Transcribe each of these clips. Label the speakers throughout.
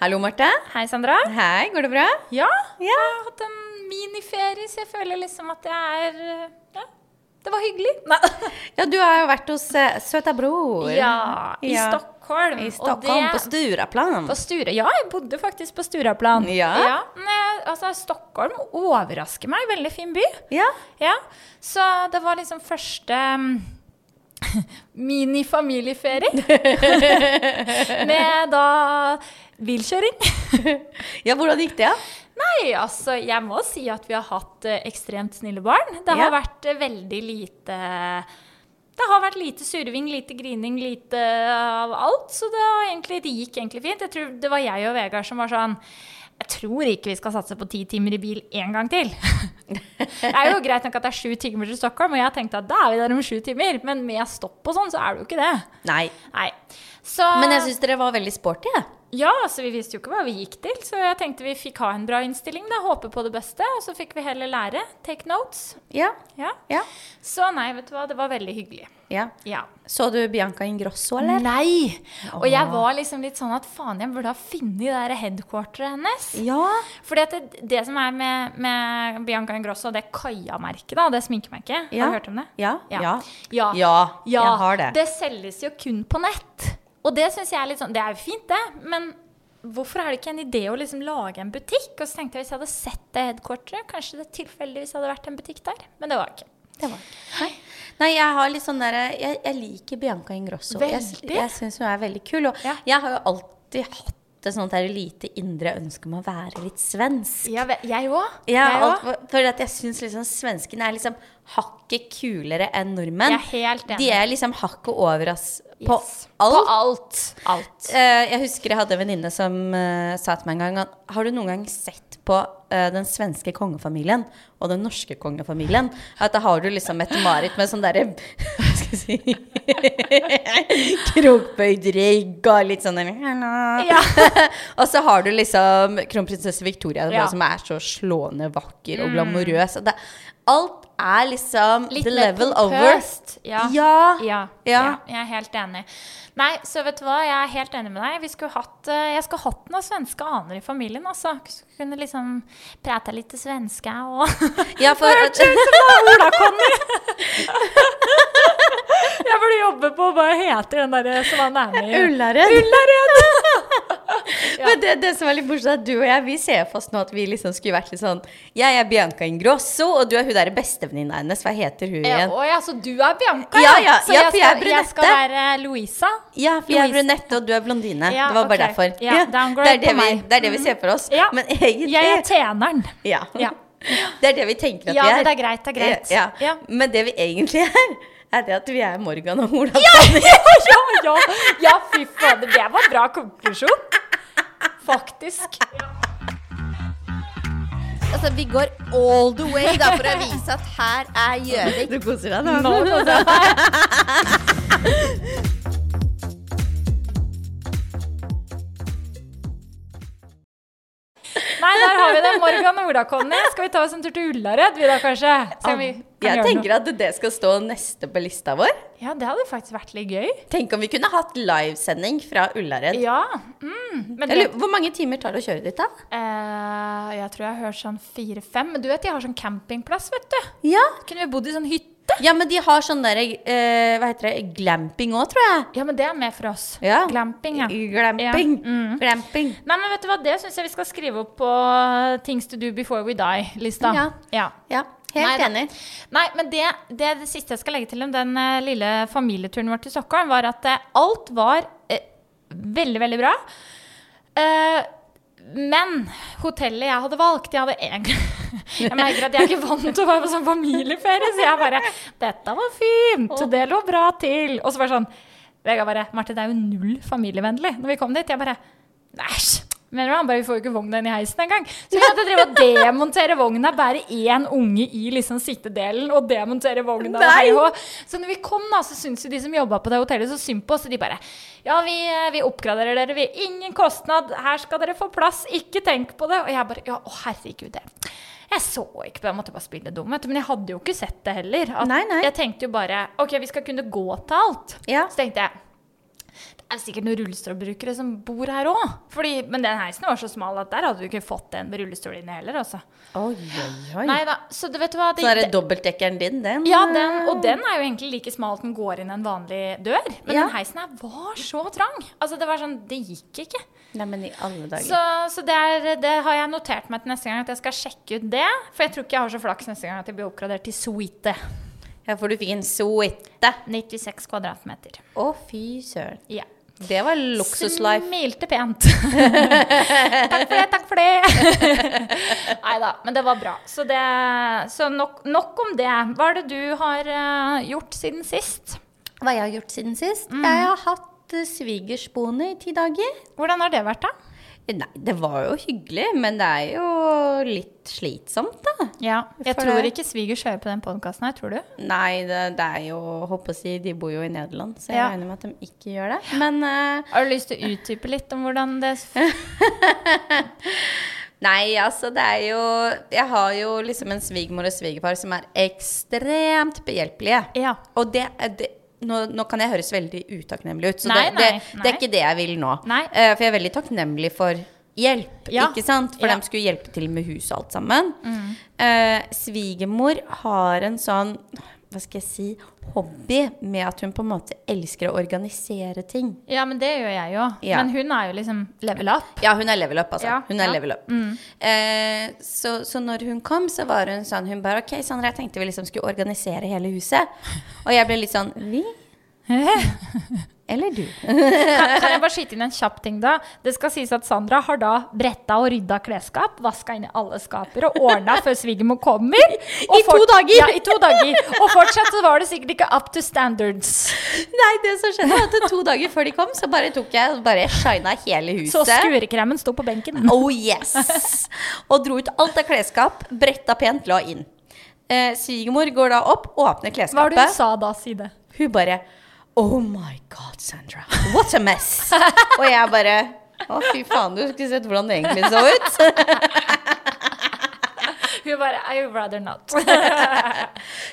Speaker 1: Hallo, Marte.
Speaker 2: Hei, Sandra.
Speaker 1: Hei, går det bra?
Speaker 2: Ja, jeg har hatt en miniferie, så jeg føler liksom at jeg er eh, Ja, det var hyggelig. Nei.
Speaker 1: Ja, du har jo vært hos uh, søta bror.
Speaker 2: Ja, i
Speaker 1: Ja.
Speaker 2: Stockholm.
Speaker 1: I Stockholm,
Speaker 2: og
Speaker 1: på
Speaker 2: det,
Speaker 1: Sturaplan.
Speaker 2: på Sture. Ja, jeg bodde faktisk på Sturaplan.
Speaker 1: Ja.
Speaker 2: men jeg- altså, Stockholm overrasker meg. Veldig fin by.
Speaker 1: Ja.
Speaker 2: Ja, så det var liksom første mm, Mini-familieferie. Med da bilkjøring.
Speaker 1: ja, hvordan gikk det?
Speaker 2: Nei, altså jeg må si at vi har hatt eh, ekstremt snille barn. Det har
Speaker 1: Ja.
Speaker 2: vært eh, veldig lite Det har vært lite surving, lite grining, lite av alt. Så det, har egentlig, det gikk egentlig fint. Jeg tror det var jeg og Vegard som var sånn jeg tror ikke vi skal satse på ti timer i bil en gang til. det er jo greit nok at det er sju timer til Stockholm, og jeg tenkte at da er vi der om sju timer. Men med stopp og sånn, så er det jo ikke det.
Speaker 1: Nei.
Speaker 2: Nei. Så
Speaker 1: Men jeg syns dere var veldig sporty. Ja.
Speaker 2: ja, altså vi visste jo ikke hva vi gikk til, så jeg tenkte vi fikk ha en bra innstilling, da, håpe på det beste, og så fikk vi heller lære. Take notes.
Speaker 1: Ja.
Speaker 2: Ja.
Speaker 1: ja.
Speaker 2: Så nei, vet du hva, det var veldig hyggelig.
Speaker 1: ja.
Speaker 2: Ja.
Speaker 1: Så du Bianca Ingrosso, eller?
Speaker 2: Nei! Og jeg var liksom litt sånn at faen, jeg burde ha funnet det der headquarteret hennes.
Speaker 1: Ja.
Speaker 2: Fordi at det, det som er med, med Bianca Ingrosso, det Kaja-merket, da, det sminkemerket,
Speaker 1: Ja.
Speaker 2: har du hørt om det?
Speaker 1: Ja.
Speaker 2: Ja.
Speaker 1: Ja.
Speaker 2: Ja.
Speaker 1: Ja,
Speaker 2: Ja,
Speaker 1: jeg har det.
Speaker 2: det selges jo kun på nett. Og det synes jeg er litt sånn Det er jo fint, det, men hvorfor er det ikke en idé å liksom lage en butikk? Og så tenkte jeg hvis jeg hadde sett det headquarteret, kanskje det tilfeldigvis hadde vært en butikk der. Men det var det ikke.
Speaker 1: Det var ikke. Nei. Nei, jeg har litt sånn der Jeg, jeg liker Bianca Ingrosso. Jeg,
Speaker 2: Veldig.
Speaker 1: jeg syns hun er veldig kul. Og
Speaker 2: Ja.
Speaker 1: jeg har jo alltid hatt et sånt der lite indre ønske om å være litt svensk.
Speaker 2: Ja, ve- jeg òg.
Speaker 1: Ja,
Speaker 2: jeg
Speaker 1: alt,
Speaker 2: òg.
Speaker 1: for at jeg syns liksom svenskene er liksom hakket kulere enn nordmenn.
Speaker 2: Jeg er helt enig.
Speaker 1: De er liksom hakket over oss på
Speaker 2: Yes.
Speaker 1: alt.
Speaker 2: På alt. Alt.
Speaker 1: Eh, jeg husker jeg hadde en venninne som eh, sa til meg en gang at, Har du noen gang sett på eh, den svenske kongefamilien og den norske kongefamilien? At da har du liksom et mareritt med sånn derre Hva skal jeg si Krokbøyd rygg og litt sånn der, «Hallo».
Speaker 2: Ja.
Speaker 1: og så har du liksom kronprinsesse Victoria,
Speaker 2: Ja. Mm.
Speaker 1: som er så slående vakker og glamorøs. Og det, alt er liksom the level over.
Speaker 2: pompøst. Ja.
Speaker 1: Ja.
Speaker 2: Ja,
Speaker 1: Ja.
Speaker 2: ja, jeg er helt enig. Nei, så vet du hva, jeg er helt enig med deg. Vi skulle hatt, eh, jeg skulle hatt noen svenske aner i familien, altså. Skulle kunne liksom prate litt svenske og
Speaker 1: Ja, for at,
Speaker 2: Jeg burde jobbe på hva heter den derre som han er med i?
Speaker 1: Ullared. Men det, det som er litt morsomt, er at du og jeg vi ser for oss nå at vi liksom skulle vært litt sånn Jeg er Bianca Ingrosso, og du er hun derre bestevenninna hennes. Hva heter hun
Speaker 2: Ja,
Speaker 1: igjen?
Speaker 2: å ja, så du er Bianca,
Speaker 1: Ja, ja,
Speaker 2: så
Speaker 1: ja,
Speaker 2: jeg,
Speaker 1: for jeg er
Speaker 2: skal, jeg skal
Speaker 1: brunette.
Speaker 2: være Louisa.
Speaker 1: Ja, for jeg er
Speaker 2: Louise.
Speaker 1: brunette, og du er blondine.
Speaker 2: Ja,
Speaker 1: det var bare
Speaker 2: ok.
Speaker 1: derfor.
Speaker 2: Ja, downgrade
Speaker 1: det, er det,
Speaker 2: på
Speaker 1: vi,
Speaker 2: meg. Mm.
Speaker 1: det er det vi ser for oss.
Speaker 2: Ja.
Speaker 1: Men egentlig
Speaker 2: Jeg er tjeneren.
Speaker 1: ja.
Speaker 2: Ja.
Speaker 1: Det er det vi tenker at
Speaker 2: Ja,
Speaker 1: vi er.
Speaker 2: men det er greit, det er greit.
Speaker 1: Ja.
Speaker 2: Ja.
Speaker 1: Men det vi egentlig er, er det at vi er Morgan og Ola.
Speaker 2: Ja, ja, ja, fy fader. Det var bra konklusjon. Faktisk.
Speaker 3: Altså, vi går all the way da, for å vise at her er Gjøvik.
Speaker 1: Du koser deg nå?
Speaker 2: Nei, der har vi det. Morgan og Ola-Conny. Skal vi ta oss en tur til Ullared, vi da, kanskje? Se om vi kan
Speaker 1: Jeg
Speaker 2: gjøre noe.
Speaker 1: tenker at det skal stå neste på lista vår.
Speaker 2: Ja, det hadde faktisk vært litt gøy.
Speaker 1: Tenk om vi kunne hatt livesending fra Ullared.
Speaker 2: Ja. Mm. Men det,
Speaker 1: Eller, hvor mange timer tar det å kjøre dit, da?
Speaker 2: eh, jeg tror jeg har hørt sånn fire-fem. Men du vet, de har sånn campingplass, vet du.
Speaker 1: Ja,
Speaker 2: Kunne vi bodd i sånn hytte?
Speaker 1: ja men de har sånn der eh, Hva heter det? Glamping òg, tror jeg.
Speaker 2: Ja, men det er med for oss.
Speaker 1: Ja.
Speaker 2: Glamping, ja.
Speaker 1: Glamping.
Speaker 2: Ja, mm.
Speaker 1: Glamping.
Speaker 2: Nei, men vet du hva, det syns jeg vi skal skrive opp på eh, Things to do before we die-lista.
Speaker 1: Ja. Ja, helt
Speaker 2: Nei,
Speaker 1: enig.
Speaker 2: Nei, men det, det, er det siste jeg skal legge til om den eh, lille familieturen vår til Stockholm, var at eh, alt var eh, veldig, veldig bra. Eh, men hotellet jeg hadde valgt Jeg hadde egentlig Jeg merker at jeg er ikke vant til å være på sånn familieferie, så jeg bare 'Dette var fint, det lå bra til.' Og så bare sånn Vegard bare 'Marte, det er jo null familievennlig.' Når vi kom dit, jeg bare Æsj! Mener du? Han bare, vi får jo ikke vogna inn i heisen engang. Så vi måtte drive og demontere vogna, bære én unge i liksom sittedelen og demontere vogna. og
Speaker 1: Nei!
Speaker 2: hei og hå. Så når vi kom, da, så syntes jo de som jobba på det hotellet, så synd på oss. Og de bare Ja, vi, eh, vi oppgraderer dere, vi. Ingen kostnad. Her skal dere få plass. Ikke tenk på det. Og jeg bare Ja, å herregud. Jeg, jeg så ikke på det. Jeg måtte bare spille dum, vet du. Men jeg hadde jo ikke sett det heller. At
Speaker 1: Nei, nei.
Speaker 2: Jeg tenkte jo bare OK, vi skal kunne gå til alt.
Speaker 1: Ja.
Speaker 2: Så tenkte jeg Det er sikkert noen rullestolbrukere som bor her òg. Men den heisen var så smal at der hadde du ikke fått en med rullestol inne heller. Altså.
Speaker 1: Oi, oi, oi.
Speaker 2: Nei da, så du vet hva det,
Speaker 1: Så er det dobbeltdekkeren din, den?
Speaker 2: ja, den, og den er jo egentlig like smal at den går inn en vanlig dør. Men
Speaker 1: Ja.
Speaker 2: den heisen her var så trang. Altså, det var sånn Det gikk ikke.
Speaker 1: Nei, men i alle
Speaker 2: Så,
Speaker 1: dager.
Speaker 2: så det, er, det har jeg notert meg til neste gang at jeg skal sjekke ut det. For jeg tror ikke jeg har så flaks neste gang at jeg blir oppgradert til suite.
Speaker 1: Ja, for du fikk en suite.
Speaker 2: 96 kvadratmeter.
Speaker 1: Å, fy søren.
Speaker 2: Ja.
Speaker 1: Det var luksuslife.
Speaker 2: Smilte pent. takk for det, takk for det. Nei da, men det var bra. Så, det, så nok, nok om det. Hva er det du har eh, gjort siden sist?
Speaker 1: Hva jeg har gjort siden sist? Jeg har hatt eh, svigersboende i ti dager.
Speaker 2: Hvordan har det vært, da?
Speaker 1: Nei, det var jo hyggelig, men det er jo litt slitsomt, da.
Speaker 2: Ja, Jeg
Speaker 1: For
Speaker 2: tror
Speaker 1: det-
Speaker 2: ikke svigers hører på den podkasten her, tror du?
Speaker 1: Nei, det, det er jo Håper å si, de bor jo i Nederland, så jeg
Speaker 2: Ja.
Speaker 1: regner med at de ikke gjør det. Men eh,
Speaker 2: Har du lyst til å utdype litt om hvordan det
Speaker 1: Nei, altså det er jo Jeg har jo liksom en svigermor og svigerfar som er ekstremt behjelpelige.
Speaker 2: Ja.
Speaker 1: Og det, er- det nå, nå kan jeg høres veldig utakknemlig ut, så
Speaker 2: Nei,
Speaker 1: det, det,
Speaker 2: nei,
Speaker 1: det er
Speaker 2: nei.
Speaker 1: ikke det jeg vil nå.
Speaker 2: Nei.
Speaker 1: Eh, for jeg er veldig takknemlig for hjelp,
Speaker 2: Ja.
Speaker 1: ikke sant? For
Speaker 2: Ja. Mm.
Speaker 1: de skulle hjelpe til med hus og alt sammen. Eh, svigermor har en sånn hva skal jeg si hobby med at hun på en måte elsker å organisere ting.
Speaker 2: Ja, men det gjør jeg jo.
Speaker 1: Ja.
Speaker 2: Men hun er jo liksom level up.
Speaker 1: Ja, hun er level up, altså.
Speaker 2: Ja,
Speaker 1: hun er
Speaker 2: ja.
Speaker 1: level up. Eh, så, så når hun kom, så var hun sånn Hun bare OK, Sandra, jeg tenkte vi liksom skulle organisere hele huset. Og jeg ble litt sånn Vi? Eller du?
Speaker 2: Kan, kan jeg bare skyte inn en kjapp ting, da? Det skal sies at Sandra har da bretta og rydda klesskap, vaska inn i alle skaper og ordna før svigermor kommer. og
Speaker 1: I to
Speaker 2: fort-
Speaker 1: dager!
Speaker 2: Ja, i to dager! Og fortsatt så var det sikkert ikke up to standards.
Speaker 1: Nei, det som skjedde, var at to dager før de kom, så bare tok jeg og bare shina hele huset.
Speaker 2: Så skurekremen sto på benken.
Speaker 1: Oh yes! Og dro ut alt av klesskap, bretta pent, la inn. Eh, Svigermor går da opp, åpner
Speaker 2: Hva var
Speaker 1: klesskapet.
Speaker 2: det hun sa da, si det?
Speaker 1: Hun bare Oh my god, Sandra. What a mess. Og jeg bare Å, fy faen, du skulle sett hvordan det egentlig så ut.
Speaker 2: Hun bare I would rather not.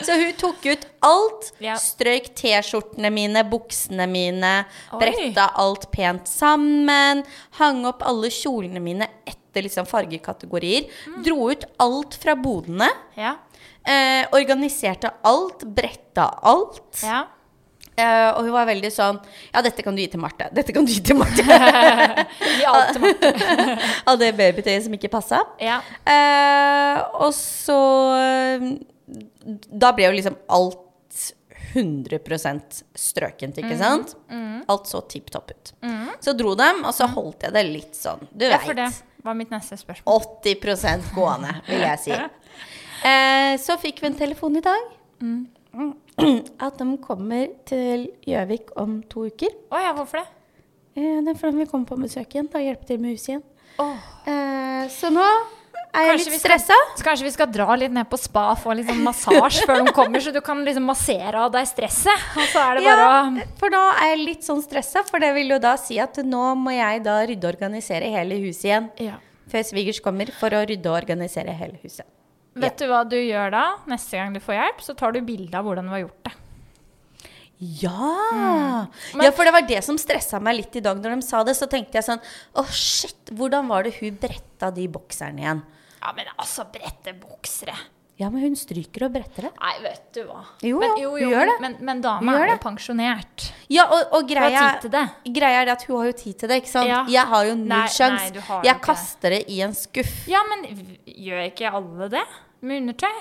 Speaker 1: Så hun tok ut alt.
Speaker 2: Ja.
Speaker 1: Strøyk T-skjortene mine, buksene mine.
Speaker 2: Oi.
Speaker 1: Bretta alt pent sammen. Hang opp alle kjolene mine etter liksom fargekategorier. Dro ut alt fra bodene.
Speaker 2: Ja.
Speaker 1: Eh, organiserte alt. Bretta alt.
Speaker 2: ja.
Speaker 1: Eh, og hun var veldig sånn Ja, dette kan du gi til Marte. Dette kan du gi til Marte.
Speaker 2: I alt som
Speaker 1: Av det babytøyet som ikke passa.
Speaker 2: Ja.
Speaker 1: Eh, og så eh, Da ble jo liksom alt 100 strøkent,
Speaker 2: Mm.
Speaker 1: ikke sant? Alt så tipp topp ut. Så dro dem, og så holdt jeg det litt sånn. Du
Speaker 2: Mm. ja, for det
Speaker 1: veit.
Speaker 2: var mitt neste spørsmål.
Speaker 1: 80 gående, vil jeg si. Eh, så fikk vi en telefon i dag.
Speaker 2: Mm.
Speaker 1: At de kommer til Gjøvik om to uker.
Speaker 2: Å ja, hvorfor det?
Speaker 1: Eh, det er fordi de vil komme på besøk igjen og hjelpe til med huset igjen.
Speaker 2: Åh.
Speaker 1: Eh, så nå er jeg
Speaker 2: Kanskje vi
Speaker 1: litt
Speaker 2: skal-
Speaker 1: stressa.
Speaker 2: Så kanskje vi skal dra litt ned på spa og få litt sånn massasje før de kommer, så du kan liksom massere av deg stresset. Og så er det bare
Speaker 1: Ja, for da er jeg litt sånn stressa, for det vil jo da si at nå må jeg da rydde og organisere hele huset igjen.
Speaker 2: å ja.
Speaker 1: Før svigers kommer for å rydde og organisere hele huset.
Speaker 2: Vet du hva du gjør da? Neste gang du får hjelp, så tar du bilde av hvordan du har gjort det.
Speaker 1: Ja! Mm. ja, for det var det som stressa meg litt i dag når de sa det. Så tenkte jeg sånn Å, shit! Hvordan var det hun bretta de bokserne igjen?
Speaker 2: Ja, men altså, brette boksere.
Speaker 1: Ja, men hun stryker og bretter det.
Speaker 2: Nei, vet du hva.
Speaker 1: Jo,
Speaker 2: men,
Speaker 1: jo, hun gjør det.
Speaker 2: Men, men dama
Speaker 1: Hun gjør
Speaker 2: er jo pensjonert.
Speaker 1: Ja, og, og
Speaker 2: Hun har
Speaker 1: greia
Speaker 2: tid til det.
Speaker 1: Greia er det at hun har jo tid til det, ikke sant?
Speaker 2: Ja.
Speaker 1: Jeg har jo null
Speaker 2: Nei, nei, du
Speaker 1: sjans.
Speaker 2: har
Speaker 1: Jeg
Speaker 2: ikke det.
Speaker 1: kaster det i en skuff.
Speaker 2: Ja, men v- gjør ikke alle det? Med undertøy?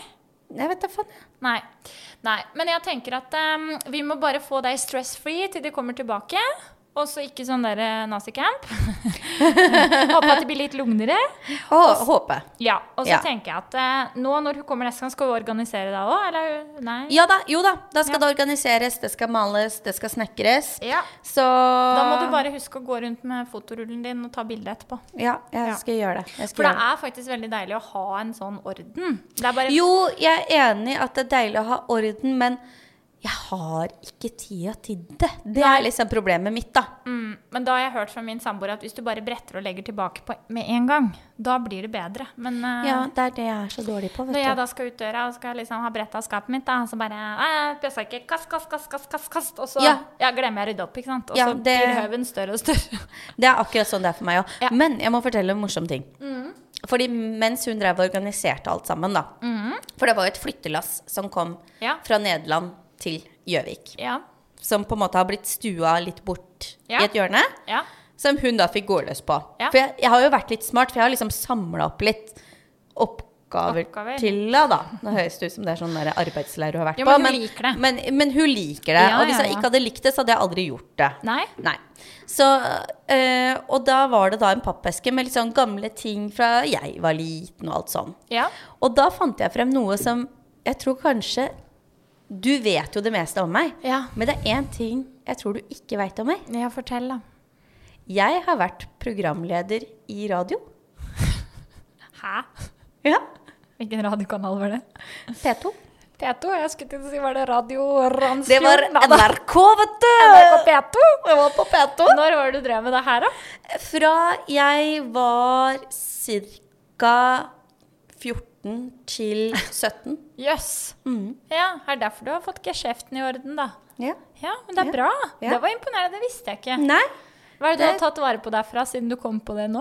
Speaker 1: Jeg vet da faen. jeg.
Speaker 2: Nei. Nei. Men jeg tenker at em, vi må bare få deg stress-free til de kommer tilbake. Og så ikke sånn der eh, nazicamp. Håper at det blir litt lugnere.
Speaker 1: Å, håpe.
Speaker 2: Ja, Og så
Speaker 1: Ja.
Speaker 2: tenker jeg at eh, nå når hun kommer neste gang, skal hun organisere deg òg, eller? Nei?
Speaker 1: Ja da, jo da. Da skal
Speaker 2: Ja.
Speaker 1: det organiseres, det skal males, det skal snekres.
Speaker 2: Ja.
Speaker 1: Så
Speaker 2: Da må du bare huske å gå rundt med fotorullen din og ta bilde etterpå.
Speaker 1: Ja, jeg
Speaker 2: Ja.
Speaker 1: skal gjøre det. Jeg skal
Speaker 2: For det
Speaker 1: gjøre det.
Speaker 2: er faktisk veldig deilig å ha en sånn orden. Det er bare
Speaker 1: Jo, jeg er enig at det er deilig å ha orden, men Jeg har ikke tida til det. Det er liksom problemet mitt, da.
Speaker 2: Mm, men da har jeg hørt fra min samboer at hvis du bare bretter og legger tilbake på med en gang, da blir det bedre. Men eh,
Speaker 1: Ja, det er det jeg er så dårlig på,
Speaker 2: når jeg
Speaker 1: vet du.
Speaker 2: da skal ut døra og skal liksom ha bretta skapet mitt, da, så bare eh, pjøsa ikke, kast, kast, kast, kast, kast, kast, og så ja.
Speaker 1: Ja.
Speaker 2: glemmer jeg å rydde opp, ikke sant. Og
Speaker 1: Ja,
Speaker 2: så
Speaker 1: det-
Speaker 2: blir haugen større og større.
Speaker 1: Det er akkurat sånn det er for meg òg.
Speaker 2: Ja. Mm.
Speaker 1: Men jeg må fortelle en morsom ting. Fordi mens hun drev og organiserte alt sammen, da For det var jo et flyttelass som kom
Speaker 2: Mm. Ja.
Speaker 1: fra Nederland til Gjøvik.
Speaker 2: ja,
Speaker 1: Som på en måte har blitt stua litt bort
Speaker 2: Ja.
Speaker 1: i et hjørne.
Speaker 2: ja,
Speaker 1: Som hun da fikk gå løs på.
Speaker 2: Ja.
Speaker 1: For jeg, jeg har jo vært litt smart, for jeg har liksom samla opp litt oppgaver,
Speaker 2: Oppgaver.
Speaker 1: til henne, da. Nå høres det ut som det er sånn der arbeidsleir hun har vært
Speaker 2: Jo,
Speaker 1: på.
Speaker 2: men hun liker det.
Speaker 1: Men, men hun liker det.
Speaker 2: Ja,
Speaker 1: og hvis
Speaker 2: ja,
Speaker 1: jeg
Speaker 2: ja.
Speaker 1: ikke hadde likt det, så hadde jeg aldri gjort det.
Speaker 2: Nei.
Speaker 1: Så, øh, og da var det da en pappeske med litt sånn gamle ting fra jeg var liten og alt sånn.
Speaker 2: ja.
Speaker 1: Og da fant jeg frem noe som jeg tror kanskje Du vet jo det meste om meg,
Speaker 2: Ja.
Speaker 1: men det er én ting jeg tror du ikke veit om meg.
Speaker 2: Ja, fortell, da.
Speaker 1: Jeg har vært programleder i radio.
Speaker 2: Hæ?
Speaker 1: Ja.
Speaker 2: Hvilken radiokanal var det?
Speaker 1: P2.
Speaker 2: P2? Jeg skulle til å si var det Radio
Speaker 1: Det var
Speaker 2: Randsfjorden?
Speaker 1: NRK, vet du!
Speaker 2: P2?
Speaker 1: Jeg var på P2.
Speaker 2: Når var det du drev med det her, da?
Speaker 1: Fra jeg var ca. 14 til 17.
Speaker 2: Jøss. Ja, er derfor du har fått geskjeften i orden, da.
Speaker 1: Mm. Ja.
Speaker 2: Ja, men det er
Speaker 1: Ja.
Speaker 2: bra.
Speaker 1: Ja.
Speaker 2: Det var imponerende, det visste jeg ikke.
Speaker 1: Nei.
Speaker 2: Hva er det du har
Speaker 1: Det-
Speaker 2: tatt vare på derfra, siden du kom på det nå?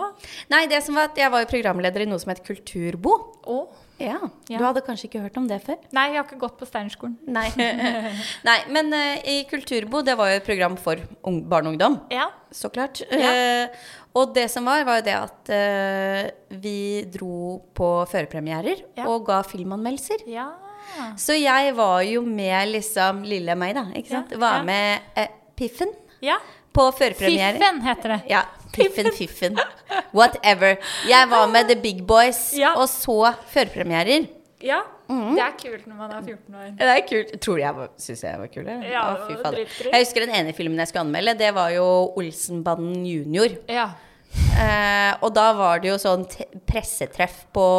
Speaker 1: Nei, det som var at jeg var jo programleder i noe som het Kulturbo.
Speaker 2: Å?
Speaker 1: Ja.
Speaker 2: Ja.
Speaker 1: Du hadde kanskje ikke hørt om det før?
Speaker 2: Nei, jeg har ikke gått på Steinerskolen.
Speaker 1: Nei. Nei men eh, i Kulturbo, det var jo et program for ung, barn og ungdom.
Speaker 2: Ja.
Speaker 1: Så klart.
Speaker 2: Ja.
Speaker 1: Eh, og det som var, var jo det at eh, vi dro på førpremierer
Speaker 2: Ja.
Speaker 1: og ga filmanmeldelser.
Speaker 2: Ja.
Speaker 1: Så jeg var jo med liksom lille meg, da. ikke
Speaker 2: Ja,
Speaker 1: sant? Var
Speaker 2: ja.
Speaker 1: med eh, Piffen
Speaker 2: ja.
Speaker 1: på førpremiere.
Speaker 2: Fiffen heter det.
Speaker 1: Ja. Piffen, Fiffen. Whatever. Jeg var med The Big Boys
Speaker 2: Ja.
Speaker 1: og så førpremierer.
Speaker 2: Ja. Det er kult når man er 14 år.
Speaker 1: Det er kult. Tror du jeg var- synes jeg var kul? eller?
Speaker 2: Ja,
Speaker 1: Å,
Speaker 2: det
Speaker 1: fy
Speaker 2: var
Speaker 1: fader.
Speaker 2: dritkult.
Speaker 1: Jeg husker den ene filmen jeg skulle anmelde. Det var jo Olsenbanden junior.
Speaker 2: Ja.
Speaker 1: Eh, og da var det jo sånn te- pressetreff på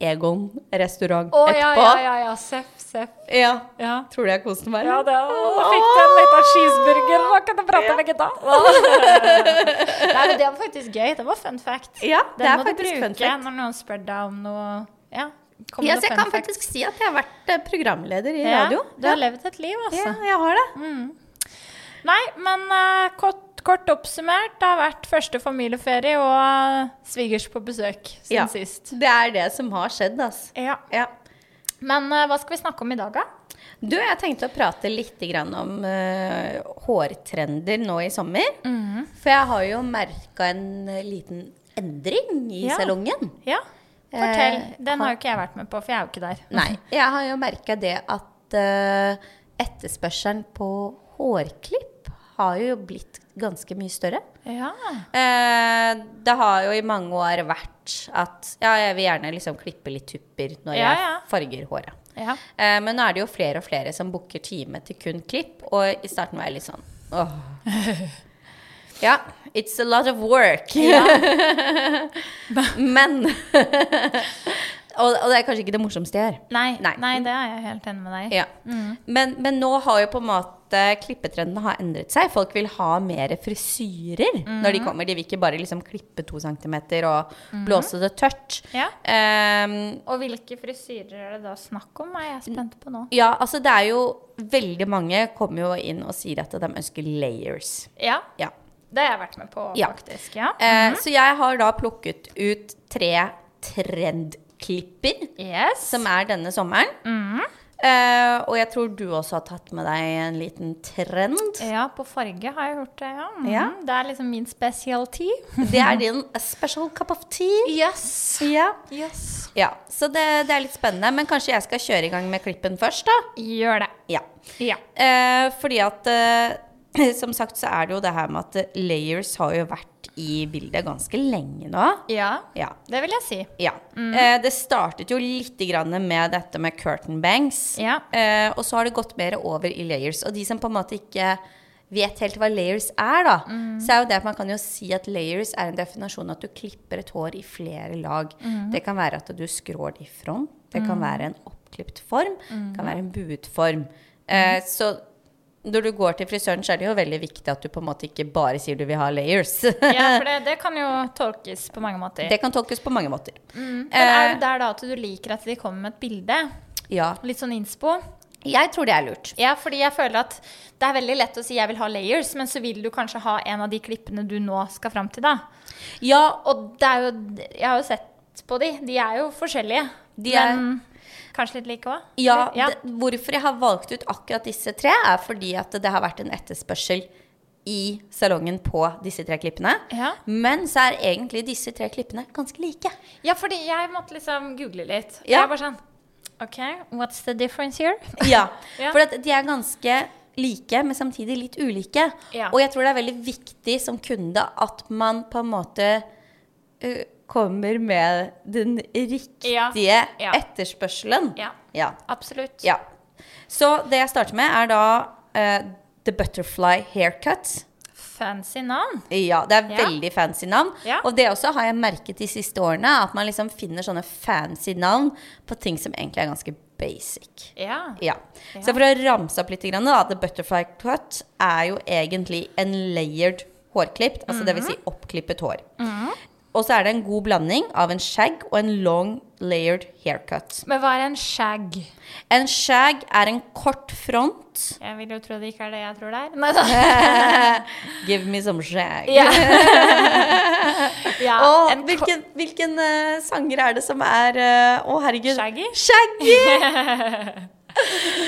Speaker 1: Egon restaurant
Speaker 2: Å, ja,
Speaker 1: etterpå.
Speaker 2: ja, ja, ja. Seff, seff.
Speaker 1: Ja.
Speaker 2: Ja.
Speaker 1: Tror du jeg koste meg?
Speaker 2: Ja,
Speaker 1: eller?
Speaker 2: det, å, da fikk du en liten cheeseburger. Hva kan du prate med gutta? Nei, men det var faktisk gøy. Det var fun fact.
Speaker 1: Ja, det
Speaker 2: Den
Speaker 1: er
Speaker 2: må du
Speaker 1: faktisk
Speaker 2: bruke
Speaker 1: fun fact.
Speaker 2: når noen spør deg om noe. Ja, kom
Speaker 1: Ja,
Speaker 2: med
Speaker 1: så jeg
Speaker 2: noe
Speaker 1: kan
Speaker 2: fun fact.
Speaker 1: faktisk si at jeg har vært eh, programleder i
Speaker 2: Ja,
Speaker 1: radio.
Speaker 2: Du har levd et liv, altså.
Speaker 1: ja, jeg har det.
Speaker 2: Nei, men eh, kort, kort oppsummert, det har vært første familieferie og eh, svigers på besøk siden
Speaker 1: Ja.
Speaker 2: sist.
Speaker 1: Det er det som har skjedd, altså.
Speaker 2: Ja.
Speaker 1: Ja.
Speaker 2: Men eh, hva skal vi snakke om i dag, da?
Speaker 1: Du, jeg tenkte å prate litt grann om eh, hårtrender nå i sommer.
Speaker 2: Mm.
Speaker 1: For jeg har jo merka en eh, liten endring i
Speaker 2: Ja.
Speaker 1: salongen.
Speaker 2: Ja, fortell.
Speaker 1: Eh,
Speaker 2: Den har jo ikke jeg vært med på, for jeg er jo ikke der.
Speaker 1: Nei. Mhm. Jeg har jo merka det at eh, etterspørselen på hårklipp har jo blitt ganske mye større.
Speaker 2: Ja.
Speaker 1: Eh, det har jo i mange år vært at ja, jeg vil gjerne liksom klippe litt tupper når
Speaker 2: Ja,
Speaker 1: jeg
Speaker 2: ja.
Speaker 1: farger håret.
Speaker 2: Ja.
Speaker 1: Eh, men nå er det jo flere og flere som booker time til kun klipp, og i starten var jeg litt sånn åh. Ja, it's a lot of work. men og, og det er kanskje ikke det morsomste jeg gjør.
Speaker 2: Nei, Mm. nei.
Speaker 1: Nei.
Speaker 2: det er jeg helt enig med deg i. Mm.
Speaker 1: Ja. Men, men nå har jo på en måte klippetrenden har endret seg. Folk vil ha mer frisyrer når de kommer. De vil ikke bare liksom klippe to centimeter og blåse det tørt.
Speaker 2: Ja.
Speaker 1: Ehm,
Speaker 2: Og hvilke frisyrer er det da snakk om, er jeg spent på nå.
Speaker 1: ja, altså det er jo veldig mange kommer jo inn og sier at de ønsker layers.
Speaker 2: Ja,
Speaker 1: Ja.
Speaker 2: det har jeg vært med på,
Speaker 1: Ja.
Speaker 2: faktisk. Ja.
Speaker 1: Eh, Så jeg har da plukket ut tre trendklipper
Speaker 2: Yes.
Speaker 1: som er denne sommeren. Eh, og jeg tror du også har tatt med deg en liten trend.
Speaker 2: Ja, på farge har jeg gjort det, ja. Mhm.
Speaker 1: Ja.
Speaker 2: Det er liksom min specialty.
Speaker 1: Det er din special cup of tea.
Speaker 2: Yes.
Speaker 1: Ja.
Speaker 2: yes.
Speaker 1: Så det, det er litt spennende. Men kanskje jeg skal kjøre i gang med klippen først, da.
Speaker 2: Gjør det.
Speaker 1: Ja.
Speaker 2: Ja.
Speaker 1: Eh, fordi at eh, som sagt så er det jo det her med at eh, layers har jo vært i bildet ganske lenge nå.
Speaker 2: ja.
Speaker 1: Ja.
Speaker 2: Det vil jeg si.
Speaker 1: ja.
Speaker 2: Mhm.
Speaker 1: Eh, det startet jo litt grann med dette med curtain bangs.
Speaker 2: Ja.
Speaker 1: Eh, og så har det gått mer over i layers. Og de som på en måte ikke vet helt hva layers er, da,
Speaker 2: Mhm.
Speaker 1: så er jo det at man kan jo si at layers er en definasjon at du klipper et hår i flere lag.
Speaker 2: Mhm.
Speaker 1: Det kan
Speaker 2: Mhm.
Speaker 1: være at du skrår det i front, det kan være en oppklipt form, det kan være en buet form. Eh, så når du går til frisøren, så er det jo veldig viktig at du på en måte ikke bare sier du vil ha layers.
Speaker 2: Ja, for det, det kan jo tolkes på mange måter.
Speaker 1: det kan tolkes på mange måter. Eh,
Speaker 2: Mm. Men er det der da at du liker at de kommer med et bilde?
Speaker 1: Ja.
Speaker 2: Litt sånn innspo?
Speaker 1: Jeg tror det er lurt.
Speaker 2: Ja, fordi jeg føler at det er veldig lett å si 'jeg vil ha layers', men så vil du kanskje ha en av de klippene du nå skal fram til, da.
Speaker 1: Ja,
Speaker 2: Og det er jo Jeg har jo sett på de. De er jo forskjellige.
Speaker 1: De er-
Speaker 2: Men kanskje litt like òg?
Speaker 1: Ja, Det, hvorfor jeg har valgt ut akkurat disse tre, er fordi at det har vært en etterspørsel i salongen på disse tre klippene.
Speaker 2: Ja.
Speaker 1: Men så er egentlig disse tre klippene ganske like.
Speaker 2: ja, fordi jeg måtte liksom google litt.
Speaker 1: Ja.
Speaker 2: Jeg bare sånn OK, what's the difference here?
Speaker 1: Ja,
Speaker 2: Ja.
Speaker 1: For at de er ganske like, men samtidig litt ulike.
Speaker 2: Ja.
Speaker 1: Og jeg tror det er veldig viktig som kunde at man på en måte ø, kommer med den riktige
Speaker 2: Ja. Ja.
Speaker 1: etterspørselen.
Speaker 2: Ja,
Speaker 1: ja.
Speaker 2: absolutt.
Speaker 1: Ja. Så det jeg starter med, er da eh, The Butterfly Haircut.
Speaker 2: Fancy navn.
Speaker 1: Ja, det er
Speaker 2: Ja.
Speaker 1: veldig fancy navn.
Speaker 2: Ja.
Speaker 1: Og det også har jeg merket de siste årene, at man liksom finner sånne fancy navn på ting som egentlig er ganske basic.
Speaker 2: Ja.
Speaker 1: Ja.
Speaker 2: Ja.
Speaker 1: Så for å ramse opp litt, grann, da, The Butterfly Cut er jo egentlig en layered hårklipp, altså det vil
Speaker 2: Mhm.
Speaker 1: Si oppklippet hår. Og så er det en god blanding av en shag og en long layered haircut.
Speaker 2: Men hva er en shag?
Speaker 1: En shag er en kort front.
Speaker 2: Jeg vil jo tro det ikke er det jeg tror det er. Nei da.
Speaker 1: Give me some shag.
Speaker 2: Ja. ja.
Speaker 1: Åh,
Speaker 2: en ko-
Speaker 1: hvilken hvilken eh, sanger er det som er eh, Å, herregud.
Speaker 2: Shaggy?
Speaker 1: Shaggy!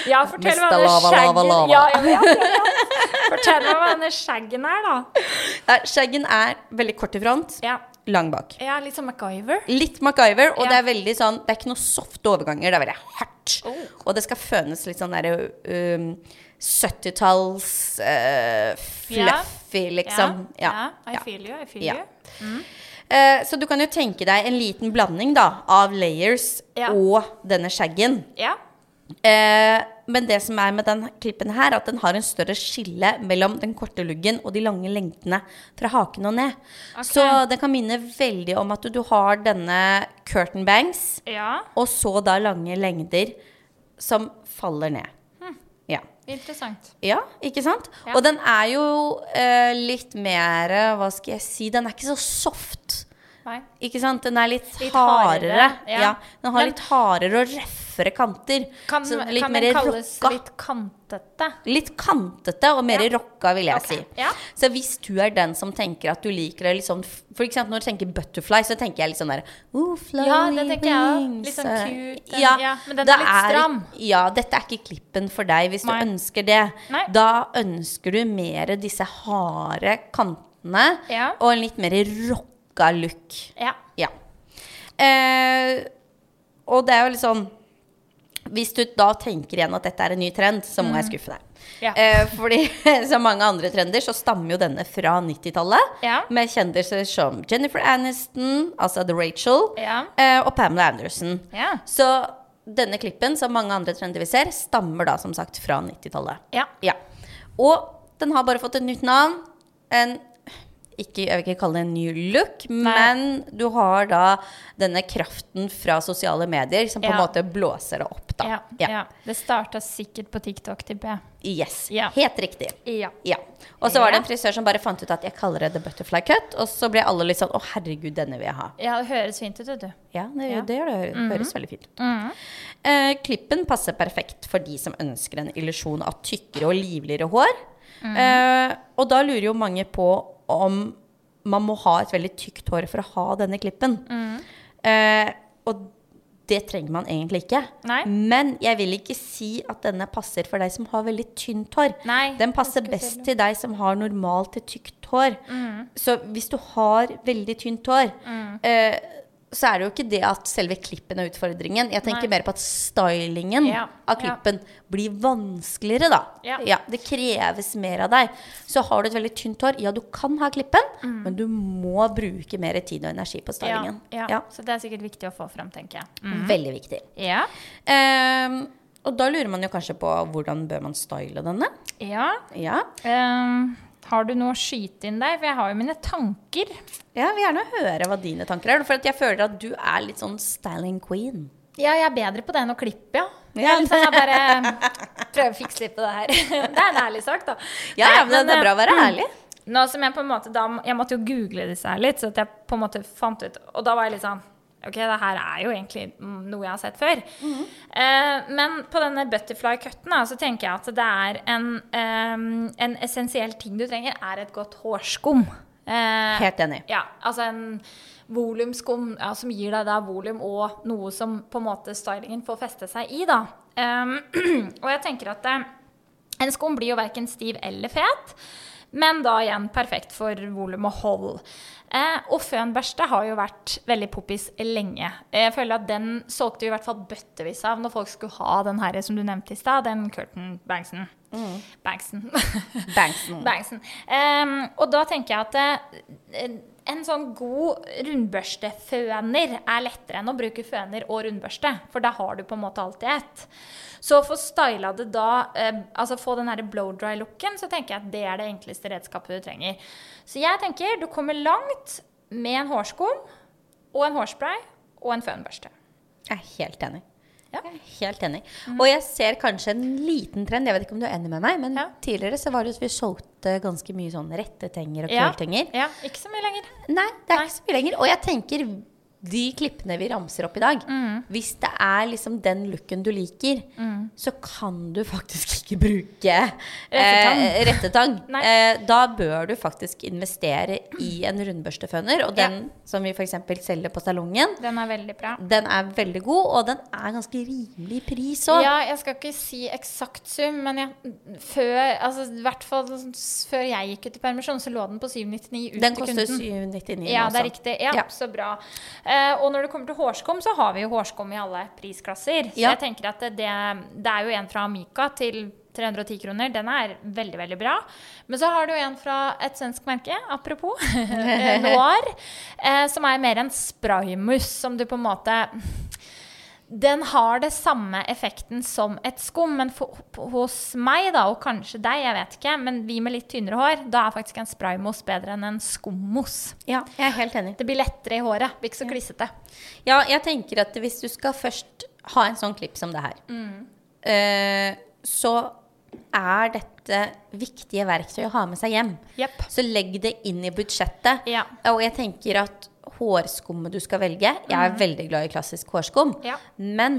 Speaker 2: Ja, fortell hva
Speaker 1: Mr.
Speaker 2: denne
Speaker 1: Lava,
Speaker 2: shaggen
Speaker 1: lava, lava.
Speaker 2: Ja, ja, ja, ja, ja. Fortell meg hva denne shaggen er, da.
Speaker 1: Nei, Shaggen er veldig kort i front,
Speaker 2: Ja,
Speaker 1: lang bak.
Speaker 2: ja litt som MacGyver.
Speaker 1: Litt MacGyver, og
Speaker 2: Ja.
Speaker 1: det er veldig sånn Det er ikke noe softe overganger, det er veldig hardt.
Speaker 2: Oh.
Speaker 1: Og det skal fønes litt sånn derre um, 70-talls eh, fluffy, liksom.
Speaker 2: Ja,
Speaker 1: Ja.
Speaker 2: I feel you, I feel
Speaker 1: Ja.
Speaker 2: you. Mm.
Speaker 1: Eh, så du kan jo tenke deg en liten blanding, da, av layers
Speaker 2: Ja.
Speaker 1: og denne shaggen.
Speaker 2: Ja.
Speaker 1: Eh, men det som er med den klippen her, at den har en større skille mellom den korte luggen og de lange lengtene fra haken og ned.
Speaker 2: Ok.
Speaker 1: Så det kan minne veldig om at du, du har denne curtain bangs,
Speaker 2: ja,
Speaker 1: og så da lange lengder som faller ned. Ja.
Speaker 2: interessant.
Speaker 1: ja, ikke sant?
Speaker 2: Hm. Ja.
Speaker 1: Og den er jo eh, litt mer eh, Hva skal jeg si? Den er ikke så soft.
Speaker 2: Nei.
Speaker 1: Ikke sant? Den er litt,
Speaker 2: Litt
Speaker 1: hardere.
Speaker 2: hardere, ja.
Speaker 1: Ja. Den har
Speaker 2: Men-
Speaker 1: litt hardere og røffere kanter.
Speaker 2: Kan,
Speaker 1: så litt
Speaker 2: kan
Speaker 1: mer
Speaker 2: den kalles
Speaker 1: rocka.
Speaker 2: litt kantete?
Speaker 1: Litt kantete og mer
Speaker 2: Ja.
Speaker 1: rocka, vil jeg
Speaker 2: Ok,
Speaker 1: si.
Speaker 2: ja.
Speaker 1: Så hvis du er den som tenker at du liker det litt sånn For eksempel når du tenker butterfly, så tenker jeg litt sånn der oh,
Speaker 2: Ja, det
Speaker 1: flowy
Speaker 2: tenker jeg også.
Speaker 1: wings. Eh,
Speaker 2: Litt sånn cute, den-
Speaker 1: Ja,
Speaker 2: ja, men den
Speaker 1: det
Speaker 2: er litt stram.
Speaker 1: Ja, dette er ikke klippen for deg hvis
Speaker 2: Nei.
Speaker 1: du ønsker det.
Speaker 2: Nei.
Speaker 1: Da ønsker du mer disse harde kantene
Speaker 2: Ja.
Speaker 1: og en litt mer rocka look.
Speaker 2: Ja.
Speaker 1: Ja. Eh, og det er jo litt sånn Hvis du da tenker igjen at dette er en ny trend, så må jeg skuffe deg.
Speaker 2: Mm. Ja.
Speaker 1: Eh, fordi som mange andre trender, så stammer jo denne fra 90-tallet.
Speaker 2: Ja.
Speaker 1: Med kjendiser som Jennifer Aniston, altså The Rachel,
Speaker 2: Ja.
Speaker 1: eh, og Pamela Anderson.
Speaker 2: Ja.
Speaker 1: Så denne klippen, som mange andre trender vi ser, stammer da som sagt fra 90-tallet.
Speaker 2: Ja.
Speaker 1: Ja. Og den har bare fått et nytt navn. En ikke, jeg vil ikke kalle det en ny look, men du har da denne kraften fra sosiale medier som på en
Speaker 2: Ja.
Speaker 1: måte blåser det opp, da.
Speaker 2: Ja, ja. Det starta sikkert på TikTok, tipper jeg.
Speaker 1: Yes.
Speaker 2: Ja.
Speaker 1: Helt riktig.
Speaker 2: Ja.
Speaker 1: Ja. Og så var det
Speaker 2: Ja.
Speaker 1: en frisør som bare fant ut at jeg kaller det the butterfly cut, og så ble alle litt sånn å herregud, denne vil jeg ha.
Speaker 2: ja, det høres fint ut, vet du.
Speaker 1: Ja, det,
Speaker 2: Ja. Mhm.
Speaker 1: det gjør det. Høres veldig fint ut. Eh, klippen passer perfekt for de som ønsker en illusjon av tykkere og livligere hår.
Speaker 2: Mhm.
Speaker 1: Eh, og da lurer jo mange på om man må ha et veldig tykt hår for å ha denne klippen.
Speaker 2: Mhm.
Speaker 1: Eh, og det trenger man egentlig ikke.
Speaker 2: Nei.
Speaker 1: Men jeg vil ikke si at denne passer for deg som har veldig tynt hår.
Speaker 2: Nei,
Speaker 1: Den passer
Speaker 2: jeg skulle si
Speaker 1: best til deg som har normalt til tykt hår.
Speaker 2: Mm.
Speaker 1: Så hvis du har veldig tynt hår, eh, så er det jo ikke det at selve klippen er utfordringen. Jeg tenker
Speaker 2: Nei.
Speaker 1: mer på at stylingen
Speaker 2: Ja,
Speaker 1: av
Speaker 2: ja.
Speaker 1: klippen blir vanskeligere, da.
Speaker 2: Ja.
Speaker 1: Det kreves mer av deg. Så har du et veldig tynt hår, ja, du kan ha klippen,
Speaker 2: Mm.
Speaker 1: men du må bruke mer tid og energi på
Speaker 2: Ja,
Speaker 1: stylingen.
Speaker 2: ja.
Speaker 1: Ja,
Speaker 2: Så det er sikkert viktig å få fram, tenker jeg. Mm.
Speaker 1: Veldig viktig.
Speaker 2: Ja.
Speaker 1: Ehm, og da lurer man jo kanskje på hvordan bør man style denne?
Speaker 2: ja.
Speaker 1: Ja,
Speaker 2: Ehm, har du noe å skyte inn der? For jeg har jo mine tanker.
Speaker 1: Jeg vil gjerne høre hva dine tanker er, for at jeg føler at du er litt sånn styling queen.
Speaker 2: Ja, jeg er bedre på det enn å klippe, ja.
Speaker 1: Ja.
Speaker 2: Jeg er litt sånn, jeg bare prøve å fikse litt på det her. Det er en ærlig sak, da. Mm.
Speaker 1: Ja, ja, men det er bra å være ærlig.
Speaker 2: Nå som Jeg på en måte da, jeg måtte jo google disse her litt, så at jeg på en måte fant ut Og da var jeg litt sånn Ok, det her er jo egentlig mm, noe jeg har sett før.
Speaker 1: Mhm.
Speaker 2: Eh, men på denne butterfly-cutten da, så tenker jeg at det er en, eh, en essensiell ting du trenger, er et godt hårskum. Eh,
Speaker 1: Helt enig.
Speaker 2: Ja, altså en volumskum ja, som gir deg da volum og noe som på en måte stylingen får feste seg i, da. Um, og jeg tenker at eh, en skum blir jo verken stiv eller fet, men da igjen perfekt for volum og hold. Eh, og fønbørste har jo vært veldig poppis lenge. Eh, Jeg føler at den solgte vi i hvert fall bøttevis av når folk skulle ha den her som du nevnte i stad, den Curtain Banksen. Banksen.
Speaker 1: Mm. Banksen.
Speaker 2: Banksen. Ehm, og da tenker jeg at eh, en sånn god rundbørsteføner er lettere enn å bruke føner og rundbørste, for da har du på en måte alltid ett. Så for å styla det da, eh, altså få den her blow dry-looken, så tenker jeg at det er det enkleste redskapet du trenger. Så jeg tenker du kommer langt med en hårskum og en hårspray og en fønbørste.
Speaker 1: Jeg er helt enig.
Speaker 2: Ja.
Speaker 1: Jeg er Helt enig. Og jeg ser kanskje en liten trend, jeg vet ikke om du er enig med meg, men
Speaker 2: Ja.
Speaker 1: tidligere så var det jo at vi solgte ganske mye sånn rettetenger og
Speaker 2: Ja.
Speaker 1: krølltenger.
Speaker 2: Ja, ikke så mye lenger.
Speaker 1: Nei, det er ikke så mye lenger. Og jeg tenker de klippene vi ramser opp i dag,
Speaker 2: Mm.
Speaker 1: hvis det er liksom den looken du liker, så kan du faktisk ikke bruke rettetang. Eh,
Speaker 2: Rettetang.
Speaker 1: rettetang.
Speaker 2: Nei.
Speaker 1: eh, da bør du faktisk investere i en rundbørsteføner. Og den som vi f.eks. selger på salongen,
Speaker 2: Den er veldig bra.
Speaker 1: den er veldig god, og den er ganske rimelig i pris òg.
Speaker 2: Ja, jeg skal ikke si eksakt sum, men jeg, før, altså, i hvert fall s- før jeg gikk ut i permisjon, så lå den på 799 ut
Speaker 1: Den
Speaker 2: til
Speaker 1: koster
Speaker 2: kunden.
Speaker 1: 799
Speaker 2: Ja,
Speaker 1: også.
Speaker 2: det er riktig. Ja,
Speaker 1: altså. Ja.
Speaker 2: Så bra. Eh, og når det kommer til hårskum, så har vi jo hårskum i alle prisklasser. Så
Speaker 1: Ja.
Speaker 2: jeg tenker at det, det er jo en fra Amika til 310 kroner. Den er veldig, veldig bra. Men så har du jo en fra et svensk merke, apropos, eh, Noir, eh, som er mer en spraymus, som du på en måte den har det samme effekten som et skum, men for, på- hos meg, da, og kanskje deg, jeg vet ikke, men vi med litt tynnere hår, da er faktisk en spraymos bedre enn en skummos.
Speaker 1: Ja, jeg er helt enig.
Speaker 2: Det blir lettere i håret, blir ikke så klissete.
Speaker 1: Ja, jeg tenker at hvis du skal først ha en sånn klipp som det her, eh, så er dette viktige verktøy å ha med seg hjem.
Speaker 2: Jepp.
Speaker 1: Så legg det inn i budsjettet.
Speaker 2: Ja.
Speaker 1: Og jeg tenker at hårskummet du skal velge Jeg er veldig glad i klassisk hårskum,
Speaker 2: Mhm. Ja.
Speaker 1: men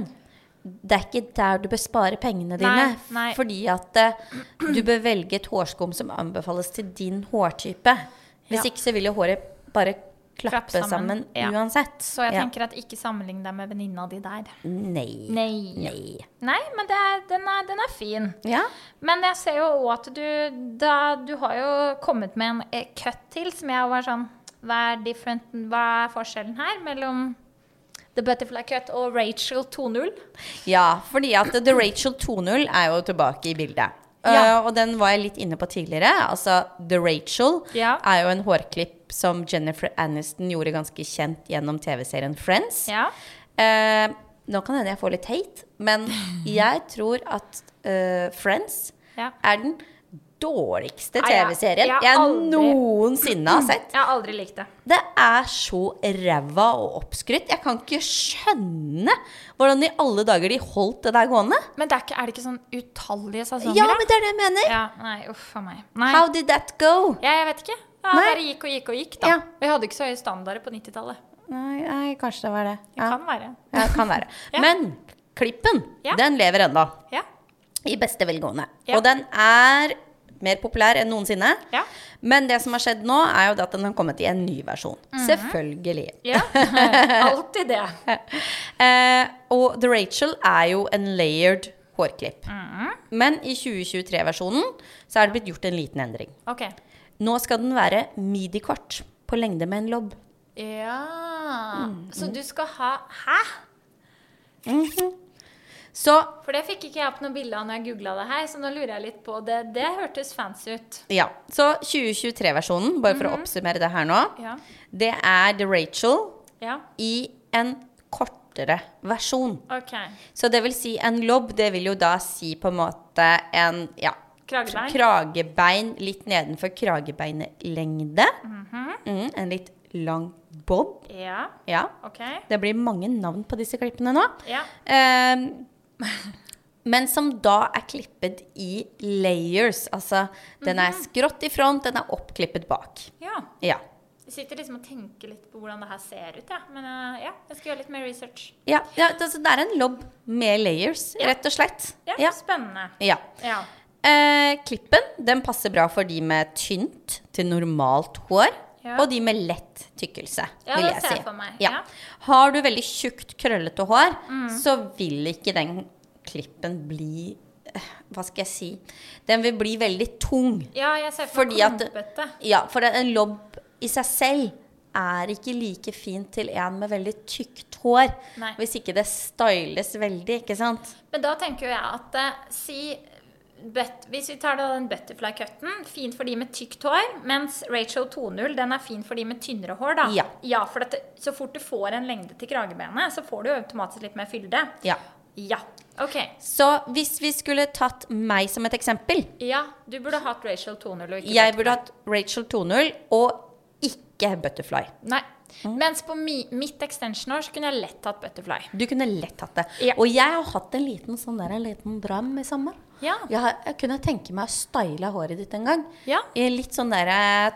Speaker 1: det er ikke der du bør spare pengene dine.
Speaker 2: Nei, nei.
Speaker 1: Fordi at eh, du bør velge et hårskum som anbefales til din hårtype. Hvis
Speaker 2: Ja.
Speaker 1: ikke så vil jo håret bare klappe
Speaker 2: Klappe sammen,
Speaker 1: sammen,
Speaker 2: ja.
Speaker 1: uansett.
Speaker 2: Så jeg
Speaker 1: Ja.
Speaker 2: tenker at ikke sammenlign deg med venninna di der.
Speaker 1: Nei.
Speaker 2: Nei.
Speaker 1: Nei.
Speaker 2: Nei, men det er, den, er, den er fin.
Speaker 1: Ja.
Speaker 2: Men jeg ser jo òg at du da, Du har jo kommet med en eh, cut til som jeg var sånn Hva er, different- hva er forskjellen her mellom The Butterfly Cut og Rachel 2.0?
Speaker 1: ja, fordi at The Rachel 2.0 er jo tilbake i bildet.
Speaker 2: Ja.
Speaker 1: Eh, og den var jeg litt inne på tidligere. Altså, The Rachel
Speaker 2: Ja.
Speaker 1: er jo en hårklipp som Jennifer Aniston gjorde ganske kjent gjennom TV-serien Friends.
Speaker 2: Ja.
Speaker 1: Eh, nå kan hende jeg får litt hate, men jeg tror at eh, Friends
Speaker 2: Ja.
Speaker 1: er den dårligste
Speaker 2: Nei, jeg-
Speaker 1: TV-serien
Speaker 2: jeg har
Speaker 1: jeg,
Speaker 2: aldri-
Speaker 1: noensinne har sett.
Speaker 2: Jeg har aldri likt det.
Speaker 1: Det er så ræva og oppskrytt. Jeg kan ikke skjønne hvordan i alle dager de holdt det der gående.
Speaker 2: Men det er, ikke, er det ikke sånn utallige sesonger?
Speaker 1: Ja,
Speaker 2: da?
Speaker 1: men det er det jeg mener.
Speaker 2: ja, Nei, uff a meg. Nei.
Speaker 1: How did that go?
Speaker 2: Ja, jeg vet ikke. Ja,
Speaker 1: Nei.
Speaker 2: bare gikk og gikk og gikk, da.
Speaker 1: Ja.
Speaker 2: Vi hadde ikke så høye standarder på 90-tallet.
Speaker 1: Nei, nei, kanskje det var det.
Speaker 2: Det
Speaker 1: Ja,
Speaker 2: kan være.
Speaker 1: ja kan være. Men klippen,
Speaker 2: Ja.
Speaker 1: den lever ennå.
Speaker 2: Ja.
Speaker 1: I beste velgående.
Speaker 2: Ja.
Speaker 1: Og den er mer populær enn noensinne.
Speaker 2: Ja.
Speaker 1: Men det som har skjedd nå, er jo det at den har kommet i en ny versjon.
Speaker 2: Mhm.
Speaker 1: Selvfølgelig.
Speaker 2: ja. Alltid det.
Speaker 1: Eh, og The Rachel er jo en layered hårklipp.
Speaker 2: Mhm.
Speaker 1: Men i 2023-versjonen så er det blitt gjort en liten endring.
Speaker 2: OK.
Speaker 1: Nå skal den være midi-kort på lengde med en lobb.
Speaker 2: Ja
Speaker 1: Mm.
Speaker 2: Så du skal ha Hæ?
Speaker 1: Så
Speaker 2: For det fikk ikke jeg opp noe bilde av når jeg googla det her, så nå lurer jeg litt på det. Det hørtes fancy ut.
Speaker 1: ja, så 2023-versjonen, bare for å oppsummere det her nå,
Speaker 2: Ja.
Speaker 1: det er The Rachel
Speaker 2: Ja.
Speaker 1: i en kortere versjon.
Speaker 2: OK.
Speaker 1: Så det vil si en lobb, det vil jo da si på en måte en ja,
Speaker 2: Kragebein.
Speaker 1: kragebein litt nedenfor kragebeinlengde. mm, en litt lang bob.
Speaker 2: Ja.
Speaker 1: Ja.
Speaker 2: OK.
Speaker 1: Det blir mange navn på disse klippene nå.
Speaker 2: Ja.
Speaker 1: Ehm, men som da er klippet i layers. Altså, den er skrått i front, den er oppklippet bak.
Speaker 2: Ja.
Speaker 1: Ja.
Speaker 2: Jeg sitter liksom og tenker litt på hvordan det her ser ut, ja. Men eh, ja, jeg skal gjøre litt mer research.
Speaker 1: Ja, ja altså, det er en lobb med layers,
Speaker 2: Ja.
Speaker 1: rett og slett.
Speaker 2: Ja,
Speaker 1: Ja.
Speaker 2: spennende.
Speaker 1: ja.
Speaker 2: Ja.
Speaker 1: Eh, klippen den passer bra for de med tynt til normalt hår,
Speaker 2: Ja.
Speaker 1: og de med lett tykkelse.
Speaker 2: Ja,
Speaker 1: vil
Speaker 2: det
Speaker 1: jeg
Speaker 2: ser
Speaker 1: si.
Speaker 2: jeg for meg.
Speaker 1: Ja.
Speaker 2: Ja. Mm.
Speaker 1: Har du veldig tjukt, krøllete hår, så vil ikke den klippen bli eh, Hva skal jeg si Den vil bli veldig tung.
Speaker 2: Ja, jeg ser for
Speaker 1: Fordi
Speaker 2: meg
Speaker 1: at-
Speaker 2: klumpete.
Speaker 1: Ja, for en lobb i seg selv er ikke like fint til en med veldig tykt hår.
Speaker 2: Nei.
Speaker 1: Hvis ikke det styles veldig, ikke sant?
Speaker 2: Men da tenker jo jeg at eh, si but, Hvis vi tar da den butterfly-cutten, fin for de med tykt hår, mens Rachel 2.0 den er fin for de med tynnere hår, da.
Speaker 1: Ja.
Speaker 2: for at det, så fort du får en lengde til kragebenet, så får du jo automatisk litt mer fylde.
Speaker 1: Ja.
Speaker 2: Ja. OK.
Speaker 1: Så hvis vi skulle tatt meg som et eksempel
Speaker 2: Ja, du burde hatt Rachel 2.0 og ikke
Speaker 1: Jeg
Speaker 2: butterfly.
Speaker 1: burde hatt Rachel 2.0 og ikke Butterfly.
Speaker 2: Nei.
Speaker 1: Mm.
Speaker 2: Mens på mi, mitt extension-år så kunne jeg lett hatt butterfly.
Speaker 1: Du kunne lett hatt det.
Speaker 2: Ja.
Speaker 1: Og jeg har hatt en liten sånn der, en liten drøm i sommer.
Speaker 2: Ja.
Speaker 1: Jeg, har, jeg kunne tenke meg å style håret ditt en gang.
Speaker 2: Ja.
Speaker 1: I Litt sånn der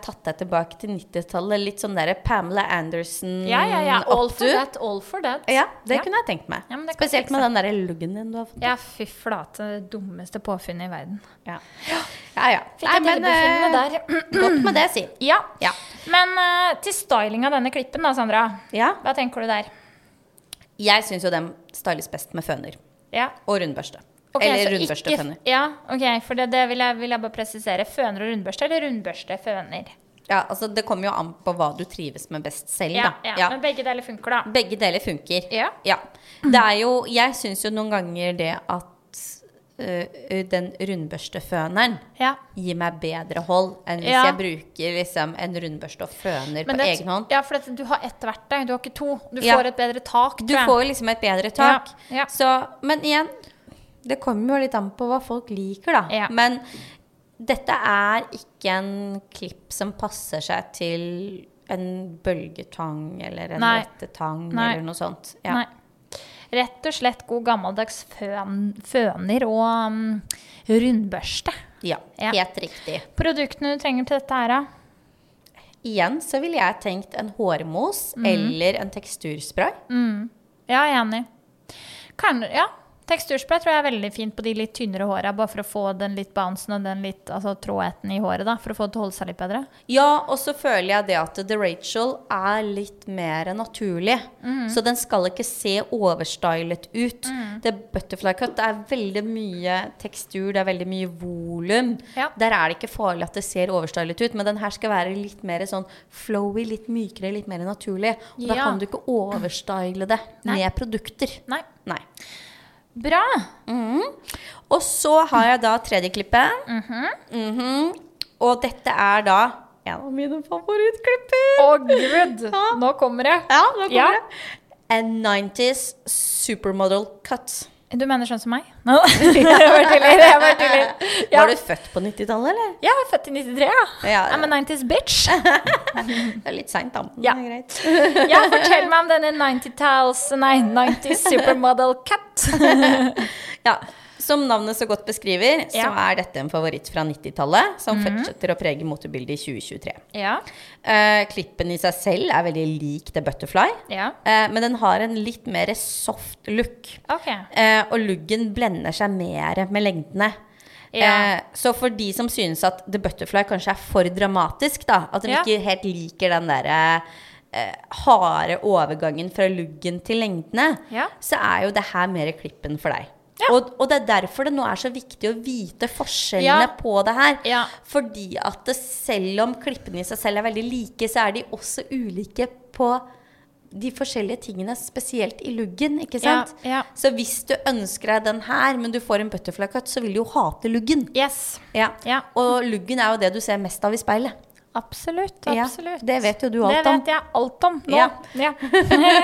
Speaker 1: tatt deg tilbake til 90-tallet. Litt sånn der Pamela Anderson
Speaker 2: Ja, ja, ja. All for
Speaker 1: opptur.
Speaker 2: that, all for that.
Speaker 1: Ja, det
Speaker 2: Ja.
Speaker 1: kunne jeg tenkt meg.
Speaker 2: Ja, men det kan
Speaker 1: Spesielt
Speaker 2: fikse.
Speaker 1: med den der luggen din du har fått.
Speaker 2: Ja, fy flate. Dummeste påfunnet i verden.
Speaker 1: Ja, ja. ja.
Speaker 2: Fikk et
Speaker 1: eh,
Speaker 2: ellebefinnende der.
Speaker 1: godt med det, si.
Speaker 2: Ja.
Speaker 1: Ja.
Speaker 2: Men eh, til styling av denne klippen, da, Sandra.
Speaker 1: ja.
Speaker 2: Hva tenker du der?
Speaker 1: Jeg syns jo den styles best med føner.
Speaker 2: Ja.
Speaker 1: Og rundbørste.
Speaker 2: Ok, så
Speaker 1: Eller rundbørste
Speaker 2: ikke-
Speaker 1: og føner.
Speaker 2: Ja, ok, for det, det vil, jeg, vil jeg bare presisere. Føner og rundbørste, eller rundbørste, føner?
Speaker 1: Ja, altså Det kommer jo an på hva du trives med best selv.
Speaker 2: Ja,
Speaker 1: da.
Speaker 2: ja,
Speaker 1: Ja.
Speaker 2: Men begge deler funker, da.
Speaker 1: Begge deler funker.
Speaker 2: Ja.
Speaker 1: Det er jo, jeg syns jo noen ganger det at øh, den rundbørsteføneren
Speaker 2: Ja.
Speaker 1: gir meg bedre hold enn hvis
Speaker 2: Ja.
Speaker 1: jeg bruker liksom, en rundbørste og føner
Speaker 2: Men
Speaker 1: på
Speaker 2: det-
Speaker 1: egen hånd.
Speaker 2: Ja, for det, du har ett verktøy, du har ikke to. Du
Speaker 1: Ja.
Speaker 2: får et bedre tak,
Speaker 1: Du får liksom et bedre tak.
Speaker 2: Ja, ja.
Speaker 1: Så, men igjen, det kommer jo litt an på hva folk liker, da.
Speaker 2: Ja.
Speaker 1: Men dette er ikke en klipp som passer seg til en bølgetang eller en
Speaker 2: Nei.
Speaker 1: rettetang
Speaker 2: Nei.
Speaker 1: eller noe sånt. Ja.
Speaker 2: Nei. Rett og slett god gammeldags føn, føner og mm, rundbørste.
Speaker 1: ja.
Speaker 2: Ja.
Speaker 1: Helt riktig.
Speaker 2: Produktene du trenger til dette her, da?
Speaker 1: Igjen så ville jeg tenkt en hårmos
Speaker 2: Mhm.
Speaker 1: eller en teksturspray.
Speaker 2: Ja, jeg er enig. Kan, ja. Teksturspray tror jeg er veldig fint på de litt tynnere håra, bare for å få den litt bouncen og den litt altså, trådheten i håret, da, for å få det til å holde seg litt bedre.
Speaker 1: Ja, og så føler jeg det at The Rachel er litt mer naturlig.
Speaker 2: Mm.
Speaker 1: Så den skal ikke se overstylet ut. Det butterfly cut det er veldig mye tekstur, det er veldig mye volum.
Speaker 2: Ja.
Speaker 1: Der er det ikke farlig at det ser overstylet ut, men den her skal være litt mer sånn flowy, litt mykere, litt mer naturlig. Og da
Speaker 2: Ja.
Speaker 1: kan du ikke overstyle det
Speaker 2: Nei.
Speaker 1: med produkter.
Speaker 2: Nei.
Speaker 1: Nei.
Speaker 2: Bra!
Speaker 1: Mm. Og så har jeg da tredje klippet.
Speaker 2: Mm-hmm.
Speaker 1: Mhm. Og dette er da en av mine favorittklipper.
Speaker 2: Å gud! Nå kommer det.
Speaker 1: Ja, nå kommer
Speaker 2: Ja.
Speaker 1: det. En 90s supermodel cut.
Speaker 2: Du mener sånn som meg? No. jeg bare tuller. Jeg bare tuller. Ja.
Speaker 1: Var du født på 90-tallet, eller?
Speaker 2: Jeg er født i 93, ja.
Speaker 1: Ja.
Speaker 2: I'm a 90's bitch.
Speaker 1: Det er litt seint, da. men
Speaker 2: Ja.
Speaker 1: det er greit.
Speaker 2: Ja, fortell meg om denne 90-talls, nei, 90s supermodel cat.
Speaker 1: Ja. Som navnet så godt beskriver, så
Speaker 2: Ja. Mm-hmm.
Speaker 1: er dette en favoritt fra 90-tallet, som fortsetter å prege motebildet i 2023.
Speaker 2: Ja,
Speaker 1: Eh, klippen i seg selv er veldig lik The Butterfly,
Speaker 2: ja,
Speaker 1: eh, men den har en litt mer soft look.
Speaker 2: ok.
Speaker 1: Eh, og luggen blender seg mer med lengdene.
Speaker 2: Ja.
Speaker 1: Eh, så for de som synes at The Butterfly kanskje er for dramatisk, da, at de
Speaker 2: Ja.
Speaker 1: ikke helt liker den derre eh, harde overgangen fra luggen til lengdene,
Speaker 2: Ja.
Speaker 1: så er jo det her mer klippen for deg.
Speaker 2: Ja.
Speaker 1: Og, og det er derfor det nå er så viktig å vite forskjellene
Speaker 2: Ja.
Speaker 1: på det her.
Speaker 2: Ja.
Speaker 1: Fordi at det, selv om klippene i seg selv er veldig like, så er de også ulike på de forskjellige tingene, spesielt i luggen, ikke
Speaker 2: Ja,
Speaker 1: sant?
Speaker 2: ja.
Speaker 1: Så hvis du ønsker deg den her, men du får en butterfly cut, så vil du jo hate luggen.
Speaker 2: Yes,
Speaker 1: Ja.
Speaker 2: Ja.
Speaker 1: Og luggen er jo det du ser mest av i speilet.
Speaker 2: absolutt,
Speaker 1: Ja,
Speaker 2: absolutt.
Speaker 1: det vet jo du alt
Speaker 2: Det
Speaker 1: om.
Speaker 2: vet jeg alt om nå.
Speaker 1: Ja.
Speaker 2: Ja.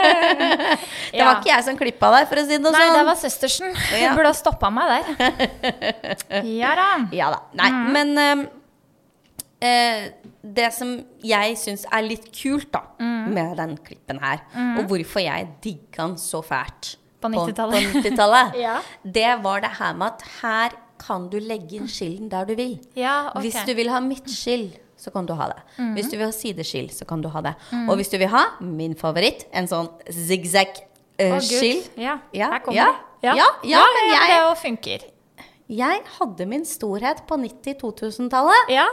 Speaker 1: Det var ikke jeg som klippa deg, for å si det
Speaker 2: Nei,
Speaker 1: sånn.
Speaker 2: det var søstersen. Hun
Speaker 1: Ja.
Speaker 2: burde ha stoppa meg der. Ja da.
Speaker 1: Ja da. Nei,
Speaker 2: Mm.
Speaker 1: men ehm, eh, det som jeg syns er
Speaker 2: Mm.
Speaker 1: litt kult, da, med den klippen her, og hvorfor jeg digga den så fælt
Speaker 2: på
Speaker 1: på
Speaker 2: 90-tallet.
Speaker 1: 90-tallet,
Speaker 2: Ja.
Speaker 1: det var det her med at her kan du legge inn skillen der du vil.
Speaker 2: Ja, Ah, ok. Mhm.
Speaker 1: Hvis du vil ha midtskill, så kan du ha det. Hvis du vil ha sideskill, så kan du ha det. Og hvis du vil ha min favoritt, en sånn eh,
Speaker 2: Å,
Speaker 1: zigzag-skill
Speaker 2: Gud. Ja,
Speaker 1: Ja,
Speaker 2: her kommer
Speaker 1: ja,
Speaker 2: det.
Speaker 1: ja, ja, men jeg-
Speaker 2: Det jo funker.
Speaker 1: Jeg hadde min storhet på 90-2000-tallet,
Speaker 2: Ja.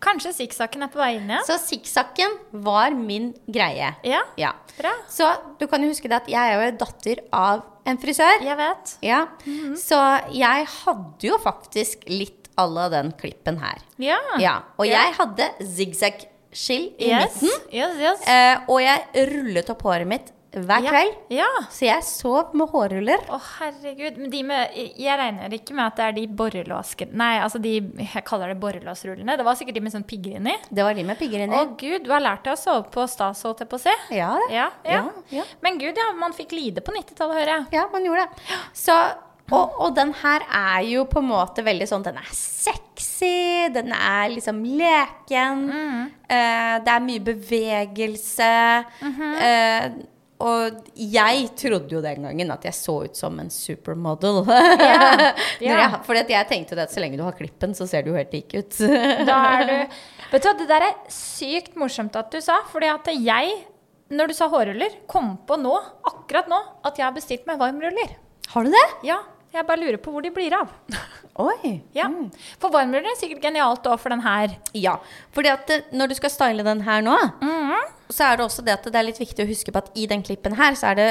Speaker 2: Kanskje sikksakken er på vei inn, ja.
Speaker 1: så sikksakken var min greie.
Speaker 2: Ja,
Speaker 1: Ja.
Speaker 2: bra.
Speaker 1: Så du kan jo huske det at jeg er jo datter av en frisør.
Speaker 2: Jeg vet.
Speaker 1: Ja.
Speaker 2: Mhm.
Speaker 1: Så jeg hadde jo faktisk litt à la den klippen her.
Speaker 2: Ja.
Speaker 1: Ja. Og
Speaker 2: Ah. Ja.
Speaker 1: jeg hadde zigzag-skill i
Speaker 2: Yes.
Speaker 1: midten,
Speaker 2: Yes, yes.
Speaker 1: eh, og jeg rullet opp håret mitt hver
Speaker 2: ja.
Speaker 1: kveld.
Speaker 2: Ja.
Speaker 1: Så jeg sov med hårruller.
Speaker 2: Å, herregud. Men de med, jeg regner ikke med at det er de borrelåskene Nei, altså de Jeg kaller det borrelåsrullene. Det var sikkert de med sånn pigger inni.
Speaker 1: Det var de med pigger
Speaker 2: Å
Speaker 1: inni.
Speaker 2: gud, du har lært deg å sove på stas, holdt jeg på å si.
Speaker 1: Ja, det.
Speaker 2: Ja, ja.
Speaker 1: ja.
Speaker 2: Men gud, ja, man fikk lide på 90-tallet, hører jeg.
Speaker 1: Ja, man gjorde det. Så, og, og den her er jo på en måte veldig sånn Den er sexy, den er liksom leken. eh, det er mye bevegelse. eh, og jeg trodde jo den gangen at jeg så ut som en supermodel.
Speaker 2: Ja, ja.
Speaker 1: For jeg tenkte jo det at så lenge du har klippen, så ser du jo helt lik ut.
Speaker 2: Da er du Vet du hva, det der er sykt morsomt at du sa, fordi at jeg, når du sa hårruller, kom på nå, akkurat nå, at jeg har bestilt meg varmruller.
Speaker 1: har du det?
Speaker 2: Ja. Jeg bare lurer på hvor de blir av.
Speaker 1: Oi.
Speaker 2: Ja. For varmruller er sikkert genialt òg for den her.
Speaker 1: Ja, fordi at eh, når du skal style den her nå,
Speaker 2: Mm-hmm.
Speaker 1: så er det også det at det er litt viktig å huske på at i den klippen her, så er det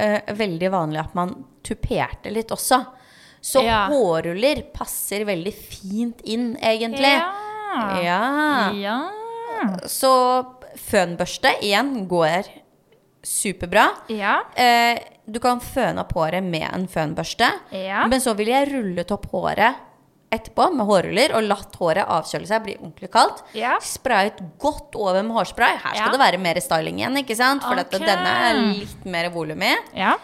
Speaker 1: eh, veldig vanlig at man tuperte litt også. Så
Speaker 2: Ja.
Speaker 1: hårruller passer veldig fint inn, egentlig.
Speaker 2: Ja. Mm.
Speaker 1: Ja.
Speaker 2: ja.
Speaker 1: Så fønbørste igjen går superbra.
Speaker 2: Ja.
Speaker 1: Eh, du kan føne opp håret med en fønbørste,
Speaker 2: Ja.
Speaker 1: men så ville jeg rullet opp håret etterpå med hårruller og latt håret avkjøle seg, bli ordentlig kaldt.
Speaker 2: Ja.
Speaker 1: Sprayet godt over med hårspray. Her skal
Speaker 2: Ja.
Speaker 1: det være mer styling igjen, ikke sant? For
Speaker 2: Ok.
Speaker 1: dette, denne er litt mer volum i.
Speaker 2: Ja.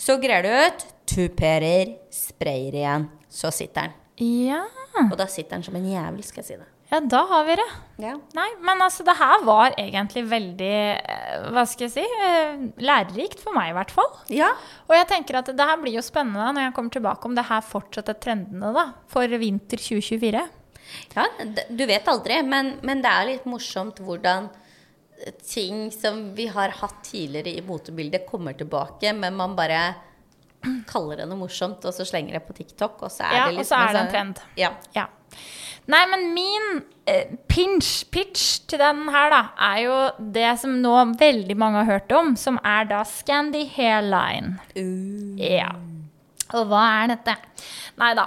Speaker 1: Så grer du ut, tuperer, sprayer igjen. Så sitter den.
Speaker 2: ja.
Speaker 1: Og da sitter den som en jævel, skal jeg si det.
Speaker 2: Ja, da har vi det. Nei, men altså, det her var egentlig veldig eh, Hva skal jeg si? eh, Lærerikt for meg, i hvert fall.
Speaker 1: Ja.
Speaker 2: Og jeg tenker at det her blir jo spennende når jeg kommer tilbake, om det her fortsetter trendene da, for vinter 2024.
Speaker 1: Ja, d- du vet aldri, men, men det er litt morsomt hvordan eh, ting som vi har hatt tidligere i motebildet, kommer tilbake, men man bare kaller det noe morsomt, og så slenger det på TikTok, og så er
Speaker 2: Ja,
Speaker 1: det
Speaker 2: og
Speaker 1: liksom
Speaker 2: så er
Speaker 1: en
Speaker 2: det en
Speaker 1: sånn-
Speaker 2: trend.
Speaker 1: Ja.
Speaker 2: Ja. Nei, men min eh, pinch, pitch til den her, da, er jo det som nå veldig mange har hørt om, som er da Scandy Hairline.
Speaker 1: Uh.
Speaker 2: Ja. Og hva er dette? Nei da.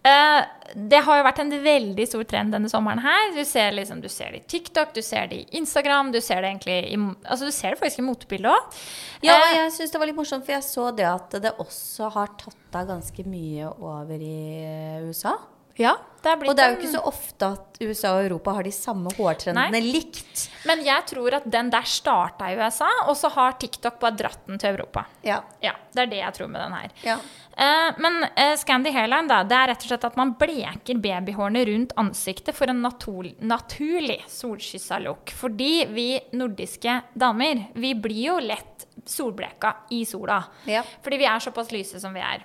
Speaker 2: Eh, det har jo vært en veldig stor trend denne sommeren her. Du ser, liksom, du ser det i TikTok, du ser det i Instagram, du ser det egentlig i Altså, du ser det faktisk i motebildet òg.
Speaker 1: ja,
Speaker 2: Eh.
Speaker 1: jeg syns det var litt morsomt, for jeg så det at det også har tatt av ganske mye over i eh, USA.
Speaker 2: Ja, det er blitt
Speaker 1: Og det er jo
Speaker 2: en-
Speaker 1: ikke så ofte at USA og Europa har de samme hårtrendene
Speaker 2: Nei.
Speaker 1: likt.
Speaker 2: Men jeg tror at den der starta i USA, og så har TikTok bare dratt den til Europa.
Speaker 1: Ja.
Speaker 2: Ja, Det er det jeg tror med den her.
Speaker 1: Ja.
Speaker 2: Eh, men eh, Scandi hairline, da, det er rett og slett at man bleker babyhårene rundt ansiktet for en natur naturlig solkyssa look. Fordi vi nordiske damer, vi blir jo lett solbleka i sola.
Speaker 1: Ja.
Speaker 2: Fordi vi er såpass lyse som vi er.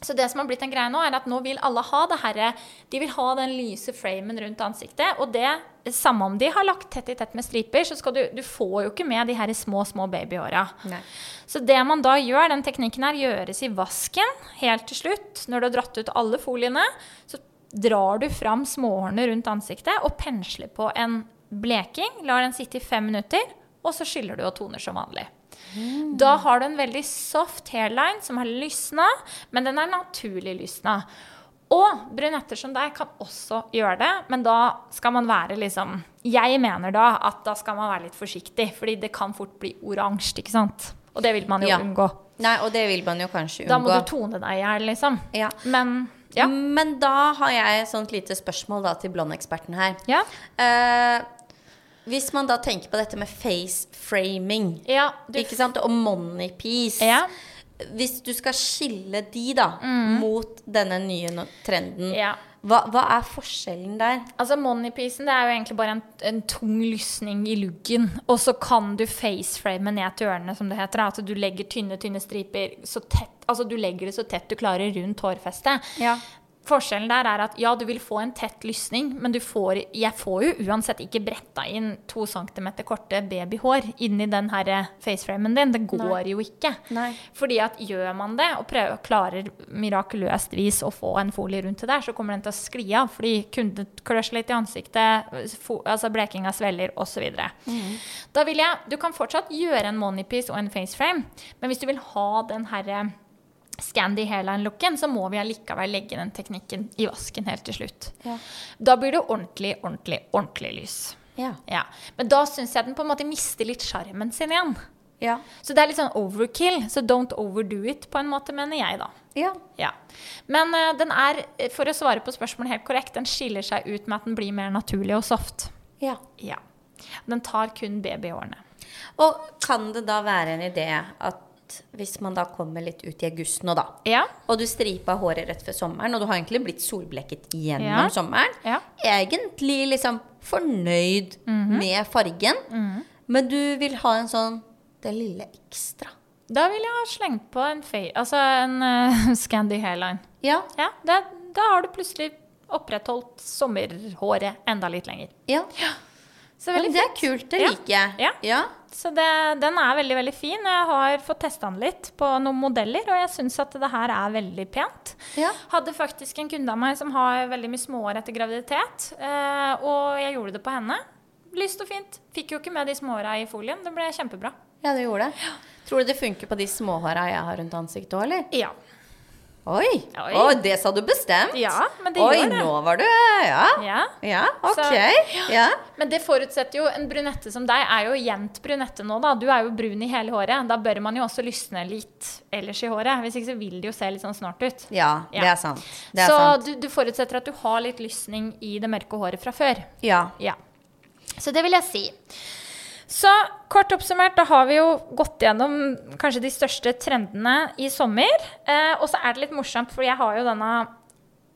Speaker 2: Så det som har blitt en greie nå, er at nå vil alle ha det herre De vil ha den lyse framen rundt ansiktet, og det samme om de har lagt tett i tett med striper, så skal du Du får jo ikke med de her små, små babyhåra.
Speaker 1: Nei.
Speaker 2: Så det man da gjør, den teknikken her, gjøres i vasken helt til slutt. Når du har dratt ut alle foliene, så drar du fram småhårene rundt ansiktet og pensler på en bleking. Lar den sitte i fem minutter, og så skyller du og toner som vanlig. Da har du en veldig soft hairline som har lysna, men den er naturlig lysna. Og brunetter som deg kan også gjøre det, men da skal man være liksom Jeg mener da at da skal man være litt forsiktig, fordi det kan fort bli oransje, ikke sant? Og det vil man jo
Speaker 1: Ja.
Speaker 2: unngå.
Speaker 1: Nei, og det vil man jo kanskje unngå.
Speaker 2: Da må du tone deg i hjel, liksom.
Speaker 1: Ja.
Speaker 2: Men ja.
Speaker 1: Men da har jeg et sånt lite spørsmål da, til blondeksperten her.
Speaker 2: Ja.
Speaker 1: Eh, hvis man da tenker på dette med face framing
Speaker 2: ja du,
Speaker 1: ikke sant? og money piece
Speaker 2: ja. Mm.
Speaker 1: Hvis du skal skille de da mot denne nye no- trenden,
Speaker 2: Ja.
Speaker 1: hva, hva er forskjellen der?
Speaker 2: Altså Moneypiecen det er jo egentlig bare en, en tung lysning i luggen. Altså, Og så kan du faceframe ned til ørene, som det heter. da, At du legger tynne tynne striper så tett altså, du legger det så tett du klarer rundt hårfestet.
Speaker 1: Ja.
Speaker 2: Forskjellen der er at ja, du vil få en tett lysning, men du får, jeg får jo uansett ikke bretta inn to centimeter korte babyhår inni den her faceframen din. Det går jo ikke.
Speaker 1: Nei.
Speaker 2: Fordi at gjør man det, og prøver, klarer mirakuløst vis å få en folie rundt det der, så kommer den til å skli av. Fordi kunden klør seg litt i ansiktet, fo, altså blekinga svelger osv. Da vil jeg Du kan fortsatt gjøre en moneypiece og en faceframe, men hvis du vil ha den herre Scandi hairline-looken, så må vi allikevel legge den teknikken i vasken helt til slutt. Da blir det ordentlig, ordentlig, ordentlig lys.
Speaker 1: Ja.
Speaker 2: Ja. Men da syns jeg den på en måte mister litt sjarmen sin igjen.
Speaker 1: Ja.
Speaker 2: Så det er litt sånn overkill, så don't overdo it, på en måte, mener jeg, da.
Speaker 1: ja.
Speaker 2: Ja. Men eh, den er, eh, for å svare på spørsmålet helt korrekt, den skiller seg ut med at den blir mer naturlig og soft.
Speaker 1: ja.
Speaker 2: Ja. Den tar kun babyhårene.
Speaker 1: Og kan det da være en idé at hvis man da kommer litt ut i august nå, da,
Speaker 2: Ja.
Speaker 1: og du stripa håret rett før sommeren, og du har egentlig blitt solbleket gjennom
Speaker 2: Ja.
Speaker 1: sommeren,
Speaker 2: Ja. Mhm.
Speaker 1: egentlig liksom fornøyd med fargen, men du vil ha en sånn det lille ekstra.
Speaker 2: Da vil jeg ha slengt på en, fe- altså en eh, Scandi hairline.
Speaker 1: Ja,
Speaker 2: Ja, det, da har du plutselig opprettholdt sommerhåret enda litt lenger.
Speaker 1: ja.
Speaker 2: Så
Speaker 1: Men
Speaker 2: veldig
Speaker 1: det er
Speaker 2: fint.
Speaker 1: kult, det
Speaker 2: Ja.
Speaker 1: liker jeg.
Speaker 2: Ja. Så det, den er veldig, veldig fin. Jeg har fått testa den litt på noen modeller, og jeg syns at det her er veldig pent.
Speaker 1: Ja.
Speaker 2: Hadde faktisk en kunde av meg som har veldig mye småår etter graviditet, eh, og jeg gjorde det på henne. Lyst og fint. Fikk jo ikke med de smååra i folien. Det ble kjempebra.
Speaker 1: ja, det gjorde det. Tror du det funker på de småhåra jeg har rundt ansiktet òg, eller?
Speaker 2: Ja.
Speaker 1: Oi.
Speaker 2: Oi.
Speaker 1: Oi, det sa du bestemt.
Speaker 2: Ja, men det
Speaker 1: Oi,
Speaker 2: gjør det.
Speaker 1: nå var du Ja.
Speaker 2: ja.
Speaker 1: Ja,
Speaker 2: Så-
Speaker 1: ok. Ja.
Speaker 2: Men det forutsetter jo En brunette som deg er jo jevnt brunette nå, da. Du er jo brun i hele håret. Da bør man jo også lysne litt ellers i håret. Hvis ikke så vil det jo se litt sånn snart ut.
Speaker 1: ja,
Speaker 2: Ja.
Speaker 1: det er sant. Det er
Speaker 2: så
Speaker 1: sant.
Speaker 2: Du, du forutsetter at du har litt lysning i det mørke håret fra før.
Speaker 1: Ja.
Speaker 2: Ja. Så det vil jeg si. Så kort oppsummert, da har vi jo gått gjennom kanskje de største trendene i sommer. Eh, og så er det litt morsomt, for jeg har jo denne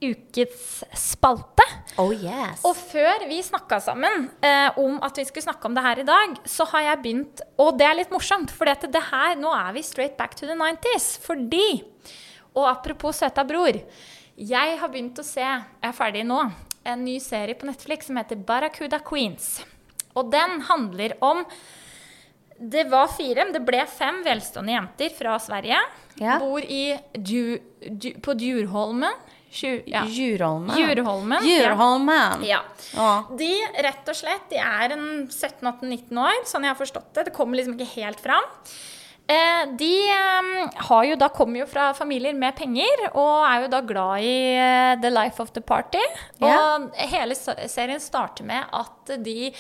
Speaker 2: ukets spalte.
Speaker 1: Oh yes.
Speaker 2: Og før vi snakka sammen eh, om at vi skulle snakke om det her i dag, så har jeg begynt Og det er litt morsomt, for det her, nå er vi straight back to the 90s. Fordi Og apropos søta bror. Jeg har begynt å se, jeg er ferdig nå, en ny serie på Netflix som heter Barracuda Queens. Og den handler om det var fire, men det ble fem velstående jenter fra Sverige.
Speaker 1: Ja.
Speaker 2: Bor i Dju, Dju, på Djurholmen. Tju- ja.
Speaker 1: Djurholmen.
Speaker 2: Djurholmen, ja.
Speaker 1: Djurholmen.
Speaker 2: Ja.
Speaker 1: Ja.
Speaker 2: De rett og slett, de er en 17-18-19 år, sånn jeg har forstått det. Det kommer liksom ikke helt fram. Eh, de eh, har jo da, kommer jo fra familier med penger og er jo da glad i eh, the life of the party. Og
Speaker 1: Ja.
Speaker 2: hele s- serien starter med at de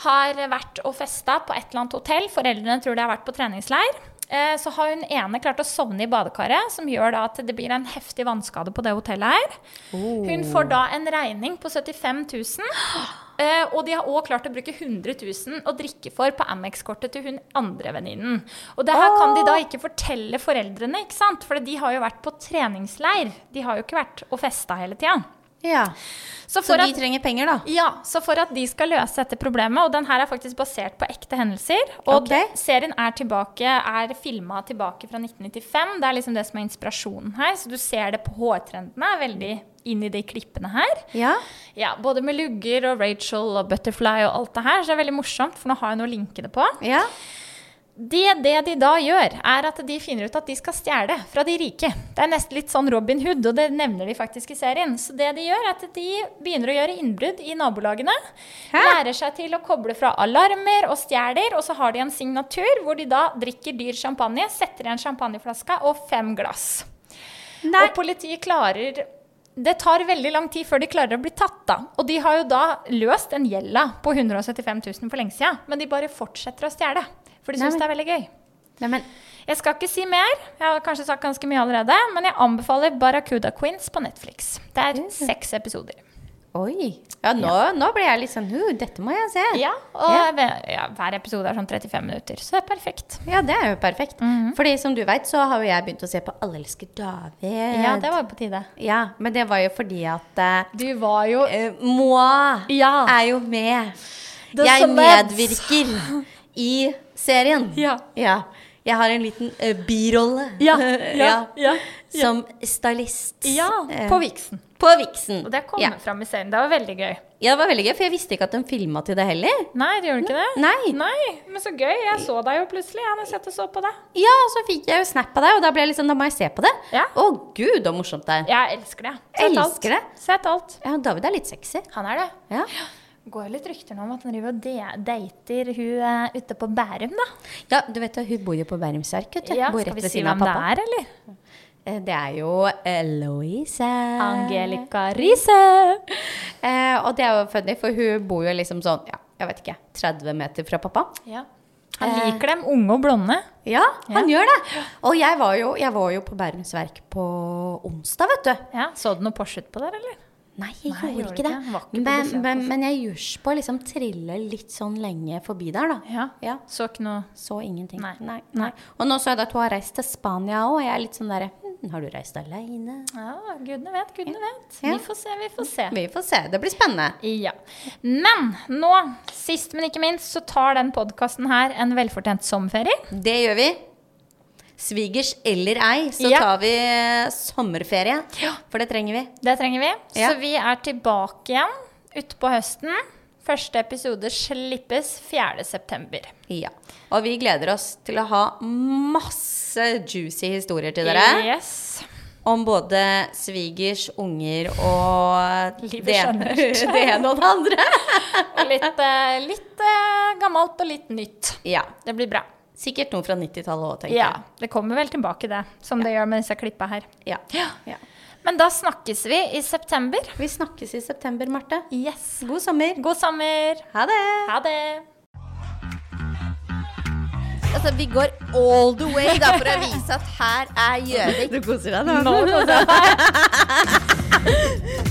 Speaker 2: har vært og festa på et eller annet hotell. Foreldrene tror de har vært på treningsleir. Eh, Så har hun ene klart å sovne i badekaret, som gjør da at det blir en heftig vannskade på det hotellet her. Hun får da en regning på 75 000. eh, Og de har òg klart å bruke 100 000 å drikke for på Amex-kortet til hun andre venninnen. Og det her kan de da ikke fortelle foreldrene, ikke sant? for de har jo vært på treningsleir. De har jo ikke vært og festa hele tida.
Speaker 1: ja.
Speaker 2: Så
Speaker 1: Så
Speaker 2: for
Speaker 1: de
Speaker 2: at
Speaker 1: trenger penger, da.
Speaker 2: ja, så for at de skal løse dette problemet, og den her er faktisk basert på ekte hendelser, og
Speaker 1: Ok.
Speaker 2: d- serien er tilbake, er filma tilbake fra 1995, det er liksom det som er inspirasjonen her, så du ser det på hårtrendene, er veldig inn i de klippene her.
Speaker 1: Ja.
Speaker 2: Ja, både med lugger og Rachel og Butterfly og alt det her, så det er veldig morsomt, for nå har jeg noe å linke det på.
Speaker 1: Ja.
Speaker 2: Det, det de da gjør, er at de finner ut at de skal stjele fra de rike. Det er nesten litt sånn Robin Hood, og det nevner de faktisk i serien. Så det de gjør, er at de begynner å gjøre innbrudd i nabolagene. Lærer seg til å koble fra alarmer og stjeler, og så har de en signatur hvor de da drikker dyr champagne, setter i en champagneflaske og fem glass. Og politiet klarer Det tar veldig lang tid før de klarer å bli tatt, da. Og de har jo da løst den gjelda på 175 000 for lenge siden, men de bare fortsetter å stjele. For de syns
Speaker 1: Nei,
Speaker 2: det er veldig gøy.
Speaker 1: Neimen,
Speaker 2: Jeg skal ikke si mer, jeg har kanskje sagt ganske mye allerede, men jeg anbefaler Barracuda Queens på Netflix. Det er seks episoder.
Speaker 1: oi. Ja, nå, nå ble jeg litt sånn «Hu, Dette må jeg se.
Speaker 2: Ja, og
Speaker 1: Ja.
Speaker 2: hver- Ja, hver episode er sånn 35 minutter, så det er perfekt.
Speaker 1: Ja, det er jo perfekt.
Speaker 2: Mhm.
Speaker 1: Fordi som du veit, så har jo jeg begynt å se på Alle elsker David.
Speaker 2: Ja, det var jo på tide.
Speaker 1: Ja, men det var jo fordi at eh,
Speaker 2: Du var jo
Speaker 1: eh, Moi
Speaker 2: Ja.
Speaker 1: er jo med.
Speaker 2: The
Speaker 1: jeg
Speaker 2: Sonnets.
Speaker 1: medvirker i serien.
Speaker 2: Ja.
Speaker 1: Jeg har en liten eh, birolle
Speaker 2: Ja,
Speaker 1: Eh,
Speaker 2: ja, ja, ja.
Speaker 1: som stylist. Eh,
Speaker 2: på Vixen.
Speaker 1: på Vixen.
Speaker 2: Og det kommer
Speaker 1: ja.
Speaker 2: fram i serien. Det var veldig gøy.
Speaker 1: ja, det var veldig gøy, for jeg visste ikke at de filma til det heller.
Speaker 2: Nei, det gjorde ikke det?
Speaker 1: Nei.
Speaker 2: men så gøy. Jeg så deg jo plutselig. Jeg hadde sett og så på deg.
Speaker 1: Ja, og så fikk jeg jo snap av deg, og da ble jeg liksom, da må jeg se på det.
Speaker 2: Ja.
Speaker 1: Å gud, så morsomt det er.
Speaker 2: Jeg elsker det.
Speaker 1: Elsker det?
Speaker 2: alt. Sett alt.
Speaker 1: Ja, David er litt sexy.
Speaker 2: Han er det.
Speaker 1: Ja.
Speaker 2: Går jo litt rykter nå om at han driver og de- dater hun eh, ute på Bærum, da.
Speaker 1: ja, du vet jo, hun bor jo på Bærumsverk, vet du.
Speaker 2: Ja,
Speaker 1: bor
Speaker 2: skal
Speaker 1: rett
Speaker 2: vi
Speaker 1: ved
Speaker 2: si
Speaker 1: siden av
Speaker 2: hvem det
Speaker 1: pappa.
Speaker 2: er, eller?
Speaker 1: Eh, Det er jo eh, Louise.
Speaker 2: Angelica Riise.
Speaker 1: Eh, og det er jo funny, for hun bor jo liksom sånn, ja, jeg vet ikke, 30 meter fra pappa.
Speaker 2: Ja. Eh. Han liker dem unge og blonde.
Speaker 1: Ja, han gjør det. Og jeg var jo, jeg var jo på Bærums Verk på onsdag, vet du.
Speaker 2: Ja, Så du noe Porsche på der, eller?
Speaker 1: Nei, jeg
Speaker 2: Nei,
Speaker 1: gjorde
Speaker 2: gjorde
Speaker 1: ikke det.
Speaker 2: ikke. Var ikke på
Speaker 1: Men,
Speaker 2: besøk altså.
Speaker 1: men,
Speaker 2: også.
Speaker 1: men jeg gjørs på å liksom trille litt sånn lenge forbi der, da.
Speaker 2: Ja.
Speaker 1: Ja,
Speaker 2: Så ikke noe
Speaker 1: Så ingenting.
Speaker 2: Nei.
Speaker 1: Nei, nei. Og nå så jeg da at hun har reist til Spania òg, og jeg er litt sånn derre hm, Har du reist aleine?
Speaker 2: Ja, gudene vet, gudene vet.
Speaker 1: Ja.
Speaker 2: Vi får se, vi får se.
Speaker 1: Vi får se. Det blir spennende.
Speaker 2: Ja. Men nå, sist men ikke minst, så tar den podkasten her en velfortjent sommerferie.
Speaker 1: Det gjør vi. Svigers eller ei, så
Speaker 2: Ja.
Speaker 1: tar vi eh, sommerferie. For det trenger vi.
Speaker 2: Det trenger vi.
Speaker 1: Ja.
Speaker 2: Så vi er tilbake igjen utpå høsten. Første episode slippes 4.9.
Speaker 1: Ja. Og vi gleder oss til å ha masse juicy historier til dere.
Speaker 2: Yes.
Speaker 1: Om både svigers, unger og
Speaker 2: Livet
Speaker 1: det,
Speaker 2: generelt.
Speaker 1: det ene og det andre.
Speaker 2: Og litt, eh, litt eh, gammelt og litt nytt.
Speaker 1: Ja.
Speaker 2: Det blir bra.
Speaker 1: Sikkert noe fra 90-tallet òg, tenker
Speaker 2: Ja, Det kommer vel tilbake, det. Som det gjør med disse klippa her.
Speaker 1: jeg. Ja. Ja.
Speaker 2: Men da snakkes vi i september.
Speaker 1: Vi snakkes i september, Marte.
Speaker 2: Yes.
Speaker 1: God sommer.
Speaker 2: God sommer.
Speaker 1: Ha det!
Speaker 2: Ha det.
Speaker 3: Altså, vi går all the way da for å vise at her er Gjøvik.
Speaker 1: Du koser deg
Speaker 2: Nå koser jeg meg.